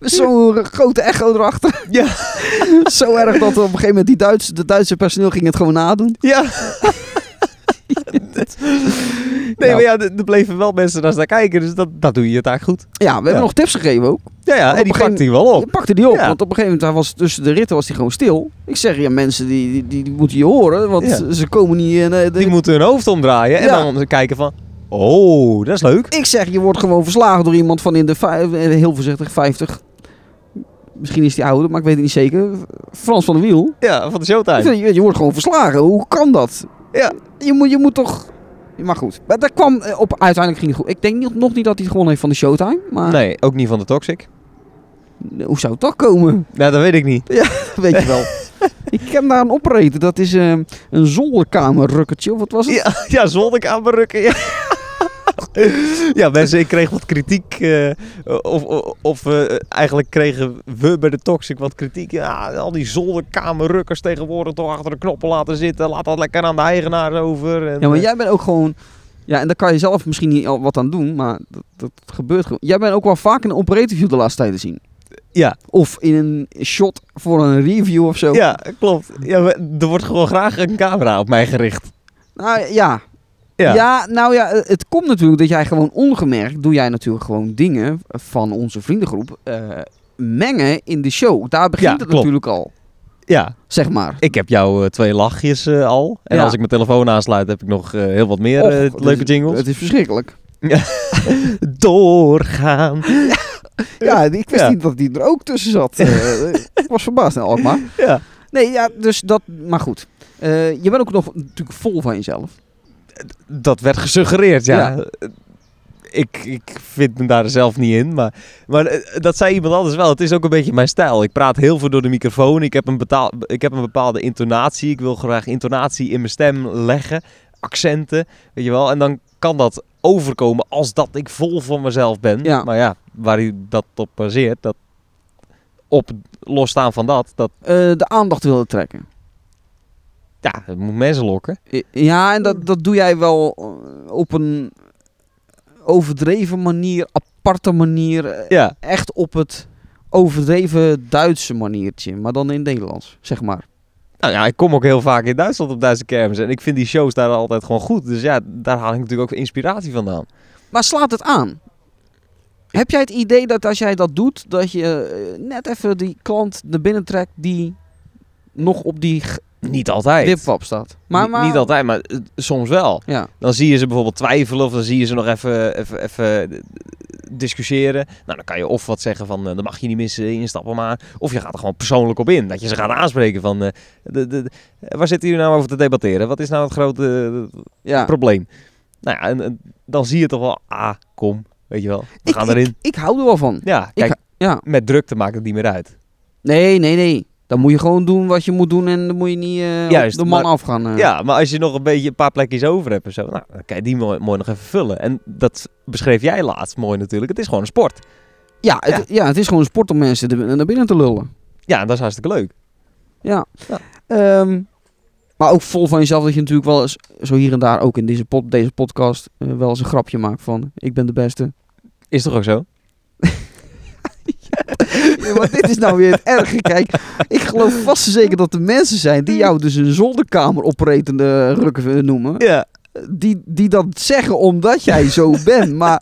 Speaker 4: Zo'n eh, grote echo erachter.
Speaker 3: Ja.
Speaker 4: Zo erg dat op een gegeven moment die Duits, de Duitse personeel ging het gewoon nadoen.
Speaker 3: Ja. nee,
Speaker 4: Ja.
Speaker 3: maar ja, er er bleven wel mensen naar staan kijken. Dus dat, dat doe je taak goed.
Speaker 4: Ja, we hebben
Speaker 3: Ja.
Speaker 4: nog tips gegeven ook.
Speaker 3: Ja, ja
Speaker 4: op
Speaker 3: en
Speaker 4: een
Speaker 3: die
Speaker 4: gegeven-
Speaker 3: pakte hij wel
Speaker 4: Je
Speaker 3: op.
Speaker 4: pakte die op,
Speaker 3: Ja.
Speaker 4: want op een gegeven moment hij was tussen de ritten was hij gewoon stil. Ik zeg, ja mensen, die, die, die, die moeten je horen, want
Speaker 3: Ja.
Speaker 4: ze komen niet... in, eh, de-
Speaker 3: Die moeten hun hoofd omdraaien. En
Speaker 4: Ja.
Speaker 3: dan kijken van... Oh, dat is leuk.
Speaker 4: Ik zeg, je wordt gewoon verslagen door iemand van in de vijf, eh, heel voorzichtig 50. Misschien is die ouder, maar ik weet het niet zeker. Frans van der Wiel.
Speaker 3: Ja, van de
Speaker 4: Ik
Speaker 3: Showtime.
Speaker 4: vind, Je, je wordt gewoon verslagen. Hoe kan dat?
Speaker 3: Ja.
Speaker 4: Je moet, je moet toch. Maar goed. Maar dat kwam eh, op. Uiteindelijk ging het goed. Ik denk niet, nog niet dat hij het gewonnen heeft van de Showtime. Maar
Speaker 3: Nee, ook niet van de Toxic.
Speaker 4: hoe zou het toch komen?
Speaker 3: Nou, dat weet ik niet.
Speaker 4: Dat weet je wel. ik heb daar een operator. Dat is eh, een zolderkamerrukkertje. Of wat was het?
Speaker 3: Ja, ja zolderkamer rukken. Ja. ja, mensen, ik kreeg wat kritiek. eh, of of, of, eh, eigenlijk kregen we bij de Toxic wat kritiek. Ja, al die zolderkamerrukkers tegenwoordig toch achter de knoppen laten zitten. Laat dat lekker aan de eigenaar over. En,
Speaker 4: Ja, maar
Speaker 3: eh,
Speaker 4: jij bent ook gewoon. Ja, en daar kan je zelf misschien niet al wat aan doen, maar dat, dat gebeurt gewoon. Jij bent ook wel vaak in een operator view de laatste tijd te zien.
Speaker 3: Ja.
Speaker 4: Of in een shot voor een review of zo.
Speaker 3: ja, klopt. Ja, we- er wordt gewoon graag een camera op mij gericht.
Speaker 4: Nou ja.
Speaker 3: Ja.
Speaker 4: Ja. nou ja, eh, het komt natuurlijk dat jij gewoon ongemerkt, doe jij natuurlijk gewoon dingen van onze vriendengroep eh, mengen in de show. Daar begint
Speaker 3: Ja,
Speaker 4: het
Speaker 3: klopt.
Speaker 4: natuurlijk al.
Speaker 3: Ja,
Speaker 4: zeg maar.
Speaker 3: ik heb jouw eh, twee lachjes eh, al. En
Speaker 4: Ja.
Speaker 3: als ik mijn telefoon aansluit, heb ik nog eh, heel wat meer
Speaker 4: Och,
Speaker 3: eh,
Speaker 4: het
Speaker 3: leuke
Speaker 4: is-
Speaker 3: jingles.
Speaker 4: Het is verschrikkelijk.
Speaker 3: Doorgaan.
Speaker 4: Ja, ik wist
Speaker 3: Ja.
Speaker 4: niet dat die er ook tussen zat. Eh, ik was verbaasd in Alkmaar.
Speaker 3: Ja.
Speaker 4: Nee, ja, dus dat... Maar goed. Eh, je bent ook nog natuurlijk vol van jezelf.
Speaker 3: Dat werd gesuggereerd, ja.
Speaker 4: Ja.
Speaker 3: Ik, ik vind me daar zelf niet in, maar, maar eh, dat zei iemand anders wel. Het is ook een beetje mijn stijl. Ik praat heel veel door de microfoon. Ik heb een, betaal, ik heb een bepaalde intonatie. Ik wil graag intonatie in mijn stem leggen. Accenten, weet je wel. En dan kan dat overkomen als dat ik vol van mezelf ben.
Speaker 4: Ja.
Speaker 3: Maar ja, waar u dat op baseert, dat op losstaan van dat, dat
Speaker 4: Eh, de aandacht willen trekken.
Speaker 3: ja, het moet mensen lokken.
Speaker 4: I- Ja, en dat, dat doe jij wel eh, op een overdreven manier, aparte manier. eh,
Speaker 3: Ja,
Speaker 4: Echt op het overdreven Duitse maniertje, maar dan in het Nederlands, zeg maar.
Speaker 3: Nou ja, ik kom ook heel vaak in Duitsland op Duitse kermis. En ik vind die shows daar altijd gewoon goed. Dus ja, daar haal ik natuurlijk ook inspiratie vandaan.
Speaker 4: Maar slaat het aan? Heb jij het idee dat als jij dat doet, dat je eh, net even die klant naar binnen trekt die nog op die g-
Speaker 3: Niet altijd.
Speaker 4: wipwap staat? Maar,
Speaker 3: Niet-
Speaker 4: maar,
Speaker 3: Niet altijd, maar eh, soms wel.
Speaker 4: Ja.
Speaker 3: Dan zie je ze bijvoorbeeld twijfelen of dan zie je ze nog even, even, even eh, discussiëren. Nou, dan kan je of wat zeggen van, eh, dan mag je niet missen, instappen maar. Of je gaat er gewoon persoonlijk op in. Dat je ze gaat aanspreken van, eh, de, de, de- waar zitten jullie nou over te debatteren? Wat is nou het grote eh,
Speaker 4: ja.
Speaker 3: probleem? Nou ja, en, en dan zie je toch wel, ah, kom, weet je wel, we
Speaker 4: Ik,
Speaker 3: gaan
Speaker 4: ik-
Speaker 3: erin.
Speaker 4: ik hou er wel van.
Speaker 3: Ja,
Speaker 4: Ik
Speaker 3: kijk,
Speaker 4: ha- ja.
Speaker 3: met drukte maakt het niet meer uit.
Speaker 4: Nee, nee, nee. Dan moet je gewoon doen wat je moet doen en dan moet je niet eh, op
Speaker 3: Juist,
Speaker 4: de man
Speaker 3: maar-
Speaker 4: afgaan. eh.
Speaker 3: Ja, maar als je nog een beetje een paar plekjes over hebt en zo, nou, dan kan je die mooi, mooi nog even vullen. En dat beschreef jij laatst mooi natuurlijk. Het is gewoon een sport.
Speaker 4: Ja, het, ja. het is gewoon een sport om mensen de- naar binnen te lullen.
Speaker 3: Ja, en dat is hartstikke leuk.
Speaker 4: Ja.
Speaker 3: Ja.
Speaker 4: Ehm, maar ook vol van jezelf dat je natuurlijk wel eens, zo hier en daar, ook in deze, pod, deze podcast, eh, wel eens een grapje maakt van ik ben de beste.
Speaker 3: Is toch ook zo?
Speaker 4: Ja, maar dit is nou weer het erge. Kijk, ik geloof vast en zeker dat er mensen zijn die jou dus een zolderkamer opretende rukken eh, noemen.
Speaker 3: Ja.
Speaker 4: Die, die dat zeggen omdat jij zo bent. Maar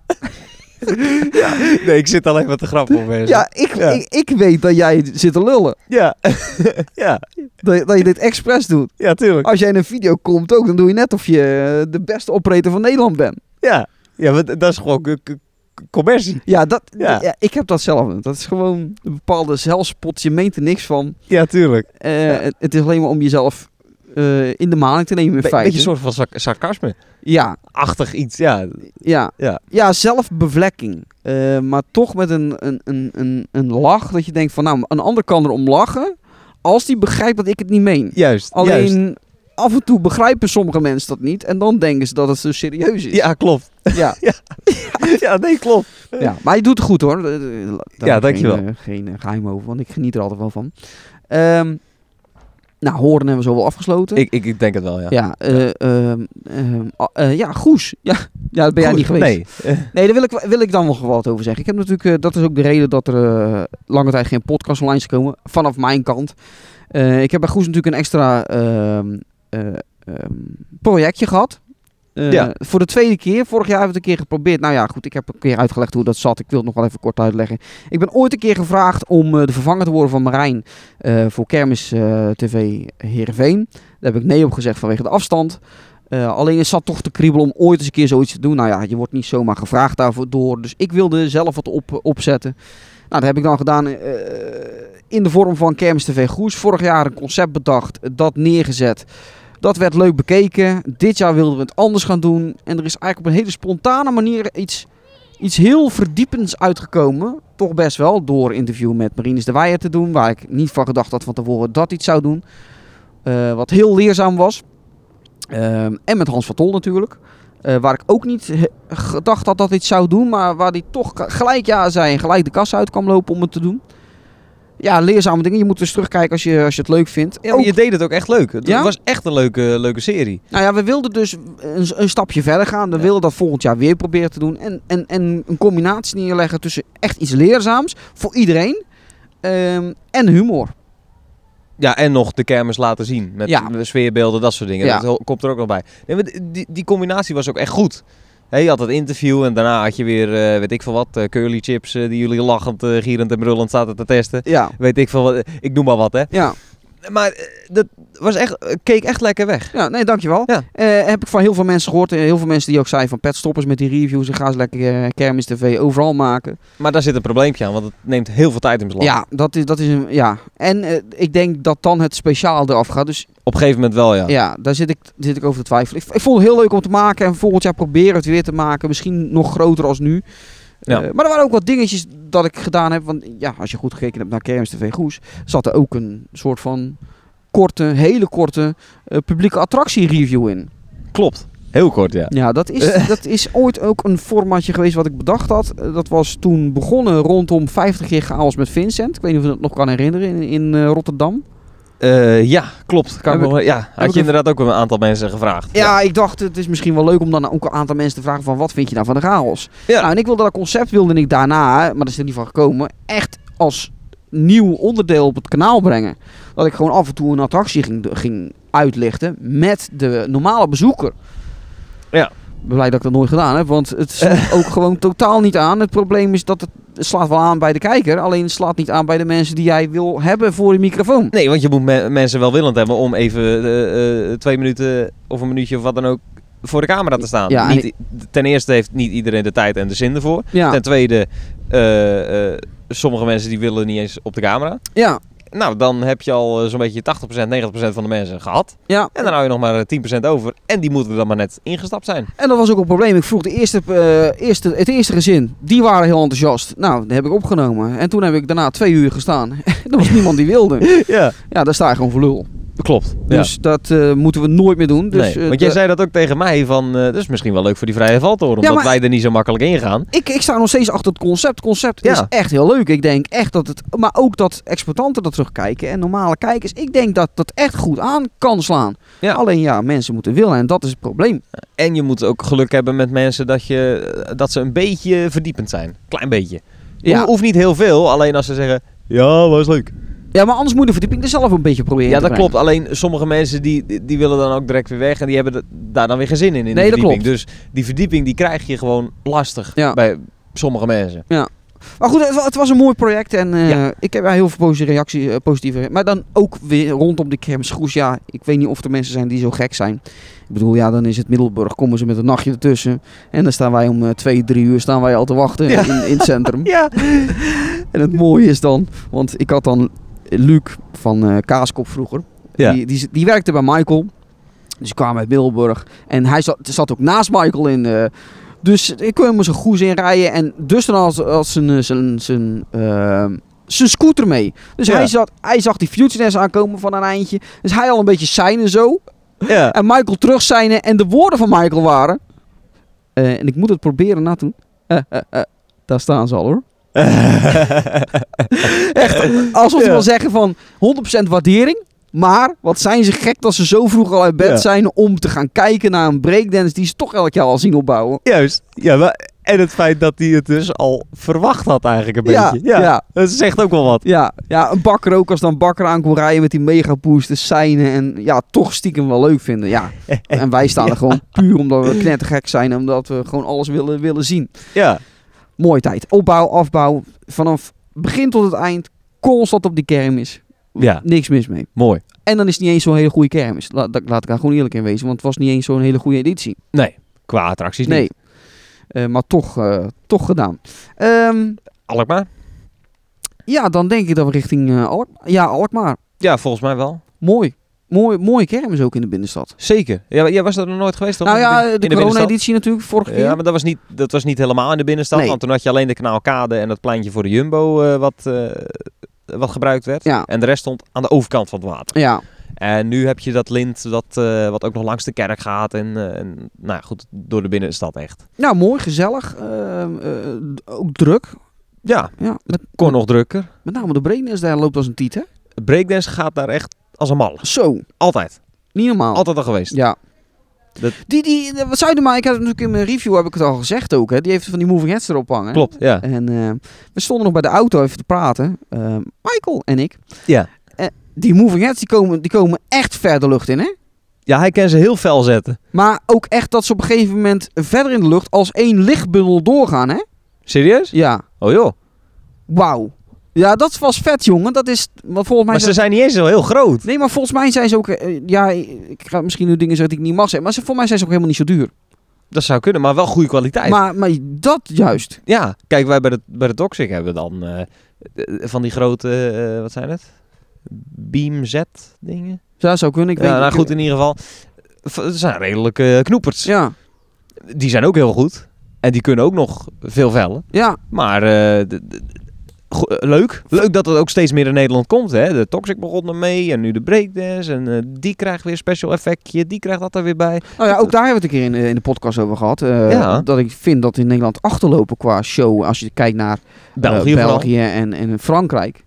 Speaker 3: Nee, ik zit alleen wat te grappen op mensen.
Speaker 4: ja, ik,
Speaker 3: Ja.
Speaker 4: Ik, ik weet dat jij zit te lullen.
Speaker 3: Ja. ja.
Speaker 4: Dat, je- dat je dit expres doet.
Speaker 3: Ja, tuurlijk.
Speaker 4: Als jij in een video komt ook, dan doe je net of je eh, de beste operator van Nederland bent.
Speaker 3: Ja. Ja, want dat is gewoon k- k- commercie.
Speaker 4: Ja, dat,
Speaker 3: Ja.
Speaker 4: ja. ik heb dat zelf. Dat is gewoon een bepaalde zelfspot. Je meent er niks van.
Speaker 3: Ja, tuurlijk. Een
Speaker 4: Eh, het, het is alleen maar om jezelf eh, in de maling te nemen in feite.
Speaker 3: beetje een soort van sarc- sarcasme.
Speaker 4: Ja,
Speaker 3: Achtig iets, ja.
Speaker 4: ja.
Speaker 3: Ja.
Speaker 4: ja zelfbevlekking. Eh, maar toch met een, een, een, een, een lach dat je denkt van... Nou, een ander kan erom lachen als die begrijpt dat ik het niet meen.
Speaker 3: Juist.
Speaker 4: Alleen
Speaker 3: juist.
Speaker 4: af en toe begrijpen sommige mensen dat niet. En dan denken ze dat het zo serieus is.
Speaker 3: Ja, klopt.
Speaker 4: ja.
Speaker 3: Ja, nee, klopt.
Speaker 4: Ja, maar je doet het goed hoor. Eh, eh, Daar heb
Speaker 3: Ja,
Speaker 4: ik
Speaker 3: dankjewel.
Speaker 4: Geen, eh, geen eh, geheim over, want ik geniet er altijd wel van. Ehm, nou, horen hebben we zo wel afgesloten.
Speaker 3: Ik, ik, ik denk het wel, ja.
Speaker 4: Ja, eh, ehm, ehm, ah, eh, ja, Goes. Ja, ja, daar ben jij
Speaker 3: Goed,
Speaker 4: niet geweest.
Speaker 3: Nee. Eh,
Speaker 4: Nee, daar wil ik, wel- wil ik dan nog wel wat over zeggen. Ik heb natuurlijk, eh, dat is ook de reden dat er eh, lange tijd geen podcast online is gekomen. Vanaf mijn kant. Eh, ik heb bij Goes natuurlijk een extra ehm, eh, ehm, projectje gehad. Eh,
Speaker 3: Ja.
Speaker 4: Voor de tweede keer. Vorig jaar hebben we het een keer geprobeerd. Nou ja, goed, ik heb een keer uitgelegd hoe dat zat. Ik wil het nog wel even kort uitleggen. Ik ben ooit een keer gevraagd om eh, de vervanger te worden van Marijn eh, voor Kermis eh, TV Heerenveen. Daar heb ik nee op gezegd vanwege de afstand. Eh, alleen het zat toch te kriebelen om ooit eens een keer zoiets te doen. Nou ja, je wordt niet zomaar gevraagd daarvoor door. Dus ik wilde zelf wat op, opzetten. Nou, dat heb ik dan gedaan eh, in de vorm van Kermis TV Goes. Vorig jaar een concept bedacht, dat neergezet. Dat werd leuk bekeken. Dit jaar wilden we het anders gaan doen. En er is eigenlijk op een hele spontane manier iets, iets heel verdiepends uitgekomen. Toch best wel, door een interview met Marines de Weijer te doen. Waar ik niet van gedacht had van tevoren dat iets zou doen. Eh, wat heel leerzaam was. Ehm, en met Hans van Tol natuurlijk. Eh, waar ik ook niet he- gedacht had dat dit zou doen. Maar waar hij toch ka- gelijk ja zei en gelijk de kassa uit kwam lopen om het te doen. Ja, leerzame dingen. Je moet dus terugkijken als je, als je het leuk vindt.
Speaker 3: Ja, maar
Speaker 4: Ook-
Speaker 3: je deed het ook echt leuk. Het
Speaker 4: Ja?
Speaker 3: was echt een leuke, leuke serie.
Speaker 4: Nou ja, we wilden dus een, een stapje verder gaan. We wilden dat volgend jaar weer proberen te doen. En, en, en een combinatie neerleggen tussen echt iets leerzaams voor iedereen ehm, en humor.
Speaker 3: Ja, en nog de kermis laten zien. Met
Speaker 4: Ja.
Speaker 3: sfeerbeelden, dat soort dingen.
Speaker 4: Ja.
Speaker 3: Dat ho- komt er ook nog bij. Nee, maar die, die combinatie was ook echt goed. Hè, je had dat interview en daarna had je weer, eh, weet ik veel wat, eh, curly chips eh, die jullie lachend, eh, gierend en brullend zaten te testen.
Speaker 4: Ja.
Speaker 3: Weet ik veel wat, ik noem maar wat hè.
Speaker 4: Ja,
Speaker 3: maar eh, dat was echt, eh, keek echt lekker weg.
Speaker 4: Ja, nee, dankjewel.
Speaker 3: Ja.
Speaker 4: Eh, heb ik van heel veel mensen gehoord. eh, Heel veel mensen die ook zeiden van petstoppers met die reviews. En ga ze lekker eh, kermis tv overal maken.
Speaker 3: Maar daar zit een probleempje aan, want het neemt heel veel tijd in beslag.
Speaker 4: Ja, dat is, dat is een... Ja. En eh, ik denk dat dan het speciaal eraf gaat. Dus
Speaker 3: Op een gegeven moment wel, ja.
Speaker 4: ja, daar zit ik, zit ik over te twijfelen. Ik, ik vond het heel leuk om te maken. En volgend jaar proberen het weer te maken. Misschien nog groter als nu.
Speaker 3: Ja.
Speaker 4: Eh, maar er waren ook wat dingetjes dat ik gedaan heb. Want ja, als je goed gekeken hebt naar Kermis TV Goes... zat er ook een soort van korte, hele korte eh, publieke attractie review in.
Speaker 3: Klopt. Heel kort, ja.
Speaker 4: Ja, dat is, dat is ooit ook een formatje geweest wat ik bedacht had. Eh, Dat was toen begonnen rondom 50 keer chaos met Vincent. Ik weet niet of je dat nog kan herinneren in, in eh, Rotterdam.
Speaker 3: Eh, ja, klopt. Kan ik
Speaker 4: Heb
Speaker 3: nog- ja, had
Speaker 4: ik
Speaker 3: je
Speaker 4: een-
Speaker 3: inderdaad ook een aantal mensen gevraagd.
Speaker 4: Ja, ik dacht het is misschien wel leuk om dan ook een aantal mensen te vragen van wat vind je nou van de chaos?
Speaker 3: Ja.
Speaker 4: Nou, en ik wilde dat concept wilde ik daarna, maar daar is er niet van gekomen, echt als nieuw onderdeel op het kanaal brengen. Dat ik gewoon af en toe een attractie ging, ging uitlichten met de normale bezoeker.
Speaker 3: Ja.
Speaker 4: Blij dat ik dat nooit gedaan heb, want het slaat ook gewoon totaal niet aan. Het probleem is dat het, het slaat wel aan bij de kijker, alleen het slaat niet aan bij de mensen die jij wil hebben voor de microfoon.
Speaker 3: Nee, want je moet me- mensen wel willend hebben om even eh, eh, twee minuten of een minuutje of wat dan ook voor de camera te staan.
Speaker 4: Ja, en
Speaker 3: Niet i- ten eerste heeft niet iedereen de tijd en de zin ervoor.
Speaker 4: Ja,
Speaker 3: Ten tweede, eh, eh, sommige mensen die willen niet eens op de camera.
Speaker 4: ja,
Speaker 3: Nou, dan heb je al eh, zo'n beetje 80%, 90% van de mensen gehad.
Speaker 4: ja.
Speaker 3: En dan hou je nog maar eh, 10% over. En die moeten er dan maar net ingestapt zijn.
Speaker 4: En dat was ook een probleem. Ik vroeg de eerste, eh, eerste, het eerste gezin. Die waren heel enthousiast. Nou, dat heb ik opgenomen. En toen heb ik daarna twee uur gestaan. er was niemand die wilde.
Speaker 3: Ja,
Speaker 4: Ja, daar sta je gewoon voor lul.
Speaker 3: klopt.
Speaker 4: Dus dat eh, moeten we nooit meer doen. Dus,
Speaker 3: nee,
Speaker 4: eh,
Speaker 3: want jij
Speaker 4: de-
Speaker 3: zei dat ook tegen mij van, eh, dat is misschien wel leuk voor die vrije valtoren, omdat
Speaker 4: maar-
Speaker 3: wij er niet zo makkelijk in gaan.
Speaker 4: ik, ik sta nog steeds achter het concept. Het concept
Speaker 3: Ja.
Speaker 4: is echt heel leuk. Ik denk echt dat het... Maar ook dat exploitanten dat terugkijken en normale kijkers. Ik denk dat dat echt goed aan kan slaan.
Speaker 3: Ja.
Speaker 4: Alleen ja, mensen moeten willen. En dat is het probleem.
Speaker 3: En je moet ook geluk hebben met mensen dat, je, eh, dat ze een beetje verdiepend zijn. Klein beetje.
Speaker 4: Ja.
Speaker 3: Ho- Hoeft niet heel veel, alleen als ze zeggen, ja, was leuk.
Speaker 4: Ja, maar anders moet de verdieping er zelf een beetje proberen
Speaker 3: Ja,
Speaker 4: te
Speaker 3: dat
Speaker 4: brengen.
Speaker 3: klopt. Alleen sommige mensen die, die willen dan ook direct weer weg en die hebben da- daar dan weer geen zin in, in
Speaker 4: Nee,
Speaker 3: die
Speaker 4: dat
Speaker 3: verdieping. Dus die verdieping die krijg je gewoon lastig
Speaker 4: Ja.
Speaker 3: bij sommige mensen.
Speaker 4: Maar goed, het, wa- het was een mooi project en eh,
Speaker 3: Ja.
Speaker 4: ik heb daar heel veel positieve reacties. eh, positieve, maar dan ook weer rondom de kermisgroes. Ja, ik weet niet of er mensen zijn die zo gek zijn. Ik bedoel, ja, dan is het Middelburg. Komen ze met een nachtje ertussen. En dan staan wij om eh, twee, drie uur staan wij al te wachten in, in het centrum.
Speaker 3: Ja.
Speaker 4: En het mooie is dan, want ik had dan Luc van eh, Kaaskop vroeger.
Speaker 3: Ja.
Speaker 4: Die, die, die werkte bij Michael. Dus ik kwam uit Middelburg. En hij zat, zat ook naast Michael in. eh, dus ik kon hem zijn goes inrijden. En dus dan had, had zijn, eh, zijn, zijn, eh, zijn scooter mee. Dus
Speaker 3: Ja.
Speaker 4: hij, zat, hij zag die futureness aankomen van een eindje. Dus hij al een beetje seinen zo.
Speaker 3: Ja.
Speaker 4: En Michael terug seinen. En de woorden van Michael waren... eh, en ik moet het proberen na te doen. Eh, eh, eh, daar staan ze al hoor. Echt, alsof ze
Speaker 3: Ja.
Speaker 4: wil zeggen van 100% waardering. Maar wat zijn ze gek dat ze zo vroeg al uit bed
Speaker 3: Ja.
Speaker 4: zijn om te gaan kijken naar een breakdance die ze toch elk jaar al zien opbouwen.
Speaker 3: Juist. Ja, maar- en het feit dat hij het dus al verwacht had eigenlijk een
Speaker 4: Ja,
Speaker 3: beetje. Ja,
Speaker 4: ja.
Speaker 3: Dat zegt ook wel wat.
Speaker 4: Ja, ja, een bakker ook als dan bakker aan kon rijden met die megaboost, de seinen en ja, toch stiekem wel leuk vinden. Ja. En wij staan er gewoon puur omdat we knettergek zijn en omdat we gewoon alles willen, willen zien.
Speaker 3: Ja.
Speaker 4: Mooie tijd. Opbouw, afbouw, vanaf begin tot het eind, constant op die kermis.
Speaker 3: Ja.
Speaker 4: Niks mis mee.
Speaker 3: Mooi.
Speaker 4: En dan is het niet eens zo'n hele goede kermis. La- da- laat ik daar gewoon eerlijk in wezen. Want het was niet eens zo'n hele goede editie.
Speaker 3: Nee, qua attracties
Speaker 4: Nee.
Speaker 3: niet.
Speaker 4: Eh, maar toch, eh, toch gedaan. Ehm,
Speaker 3: Alkmaar?
Speaker 4: ja, dan denk ik dat we richting eh Alk ja, Alkmaar.
Speaker 3: Ja, volgens mij wel.
Speaker 4: Mooi. Mooi, mooie kermis ook in de binnenstad.
Speaker 3: Zeker. Ja, jij was er nog nooit geweest? toch?
Speaker 4: nou
Speaker 3: In bin-
Speaker 4: ja,
Speaker 3: in
Speaker 4: de,
Speaker 3: binnenstad?
Speaker 4: corona-editie natuurlijk, vorige keer.
Speaker 3: Ja, maar dat was, niet, dat was niet helemaal in de binnenstad.
Speaker 4: Nee.
Speaker 3: Want toen had je alleen de kanaalkade en dat pleintje voor de Jumbo eh, wat, eh, wat gebruikt werd.
Speaker 4: Ja.
Speaker 3: En de rest stond aan de overkant van het water.
Speaker 4: Ja,
Speaker 3: En nu heb je dat lint dat, eh, wat ook nog langs de kerk gaat. En, eh, en nou ja, goed, door de binnenstad echt.
Speaker 4: nou mooi, gezellig. Ehm, eh, d- ook druk.
Speaker 3: Ja,
Speaker 4: Ja, met,
Speaker 3: kon nog drukker.
Speaker 4: met name de Breedness daar loopt als een tiet, hè?
Speaker 3: Breakdance gaat daar echt als een mal.
Speaker 4: Zo,
Speaker 3: Altijd.
Speaker 4: niet normaal.
Speaker 3: Altijd al geweest.
Speaker 4: Ja.
Speaker 3: Dat-
Speaker 4: Die, die, eh, wat Zuidema, ik heb het natuurlijk in mijn review heb ik het al gezegd ook, hè? Die heeft van die moving heads erop hangen.
Speaker 3: Klopt, ja.
Speaker 4: En eh, we stonden nog bij de auto even te praten. eh, Michael en ik.
Speaker 3: Ja.
Speaker 4: Eh, die moving heads die komen, die komen echt ver de lucht in, hè?
Speaker 3: Ja, hij kan ze heel fel zetten.
Speaker 4: Maar ook echt dat ze op een gegeven moment verder in de lucht als één lichtbundel doorgaan, hè?
Speaker 3: Serieus?
Speaker 4: Ja.
Speaker 3: Oh joh.
Speaker 4: Wauw. Ja, dat was vet, jongen. Dat is, want volgens mij...
Speaker 3: Maar
Speaker 4: zijn-
Speaker 3: ze zijn niet eens zo heel groot.
Speaker 4: Nee, maar volgens mij zijn ze ook... eh, ja, ik ga misschien nu dingen zeggen die ik niet mag zeggen. Maar ze, volgens mij zijn ze ook helemaal niet zo duur.
Speaker 3: Dat zou kunnen, maar wel goede kwaliteit.
Speaker 4: Maar, maar dat juist.
Speaker 3: Ja, kijk, wij bij de, bij de Toxic hebben dan eh, eh, van die grote, eh, wat zijn het? Beam Z dingen?
Speaker 4: Ja, zou kunnen. Ik
Speaker 3: ja,
Speaker 4: weet
Speaker 3: nou
Speaker 4: ik-
Speaker 3: goed, in ieder geval. v- Het zijn redelijke knoepers.
Speaker 4: Ja,
Speaker 3: Die zijn ook heel goed. En die kunnen ook nog veel vellen.
Speaker 4: ja.
Speaker 3: Maar eh, d- d- go- eh, leuk. Leuk dat het ook steeds meer in Nederland komt. Hè? De Toxic begon ermee en nu de Breakdance. En eh, die krijgt weer special effectje. Die krijgt dat er weer bij.
Speaker 4: Nou ja, ook daar hebben we het een keer in, eh, in de podcast over gehad. eh,
Speaker 3: Ja.
Speaker 4: Dat ik vind dat in Nederland achterlopen qua show. Als je kijkt naar eh,
Speaker 3: België vooral.
Speaker 4: België en, en Frankrijk.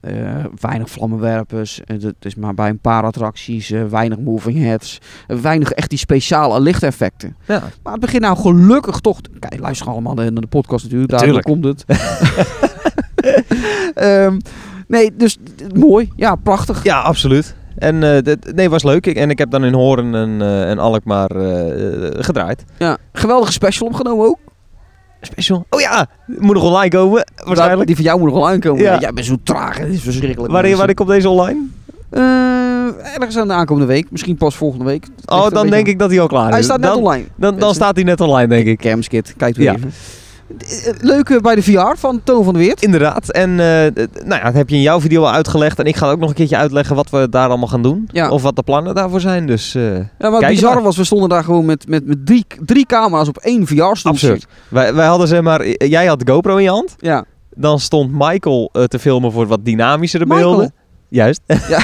Speaker 4: Eh, weinig vlammenwerpers. eh, dat is maar bij een paar attracties. eh, weinig moving heads. eh, weinig echt die speciale lichteffecten.
Speaker 3: Ja.
Speaker 4: Maar het begint nou gelukkig toch... Kijk, luister allemaal naar de podcast natuurlijk. Daar
Speaker 3: Tuurlijk.
Speaker 4: komt het. Ehm, nee, dus d- mooi. Ja, prachtig.
Speaker 3: Ja, absoluut. En eh, dit- nee, was leuk. Ik, en ik heb dan in Hoorn en, eh, en Alkmaar eh, eh, gedraaid.
Speaker 4: Ja. Geweldige special opgenomen ook.
Speaker 3: Special. Oh ja, moet nog online komen. Waarschijnlijk.
Speaker 4: Die van jou moet nog wel aankomen.
Speaker 3: Ja.
Speaker 4: Jij bent zo traag. Het is verschrikkelijk.
Speaker 3: Wanneer
Speaker 4: mensen.
Speaker 3: wanneer komt deze online?
Speaker 4: Eh, ergens aan de aankomende week. Misschien pas volgende week. Het ligt
Speaker 3: Oh,
Speaker 4: een
Speaker 3: dan
Speaker 4: beetje-
Speaker 3: denk ik dat hij al klaar is.
Speaker 4: Hij staat net
Speaker 3: dan,
Speaker 4: online.
Speaker 3: Dan, dan
Speaker 4: Mensen.
Speaker 3: staat hij net online, denk ik.
Speaker 4: Kermskit. Kijk weer
Speaker 3: Ja.
Speaker 4: even. Eh, eh, Leuke bij de VR van Toon van de Weert.
Speaker 3: Inderdaad. En eh, eh, nou ja, dat heb je in jouw video al uitgelegd. En ik ga ook nog een keertje uitleggen wat we daar allemaal gaan doen.
Speaker 4: Ja.
Speaker 3: Of wat de plannen daarvoor zijn. Dus eh,
Speaker 4: Ja, wat
Speaker 3: Kijk
Speaker 4: bizar
Speaker 3: maar.
Speaker 4: was, we stonden daar gewoon met, met, met drie, drie camera's op één VR-stoel.
Speaker 3: absurd. Wij, wij hadden zeg maar... eh, Jij had de GoPro in je hand.
Speaker 4: Ja.
Speaker 3: Dan stond Michael eh, te filmen voor wat dynamischere
Speaker 4: Michael?
Speaker 3: beelden. Juist.
Speaker 4: Ja.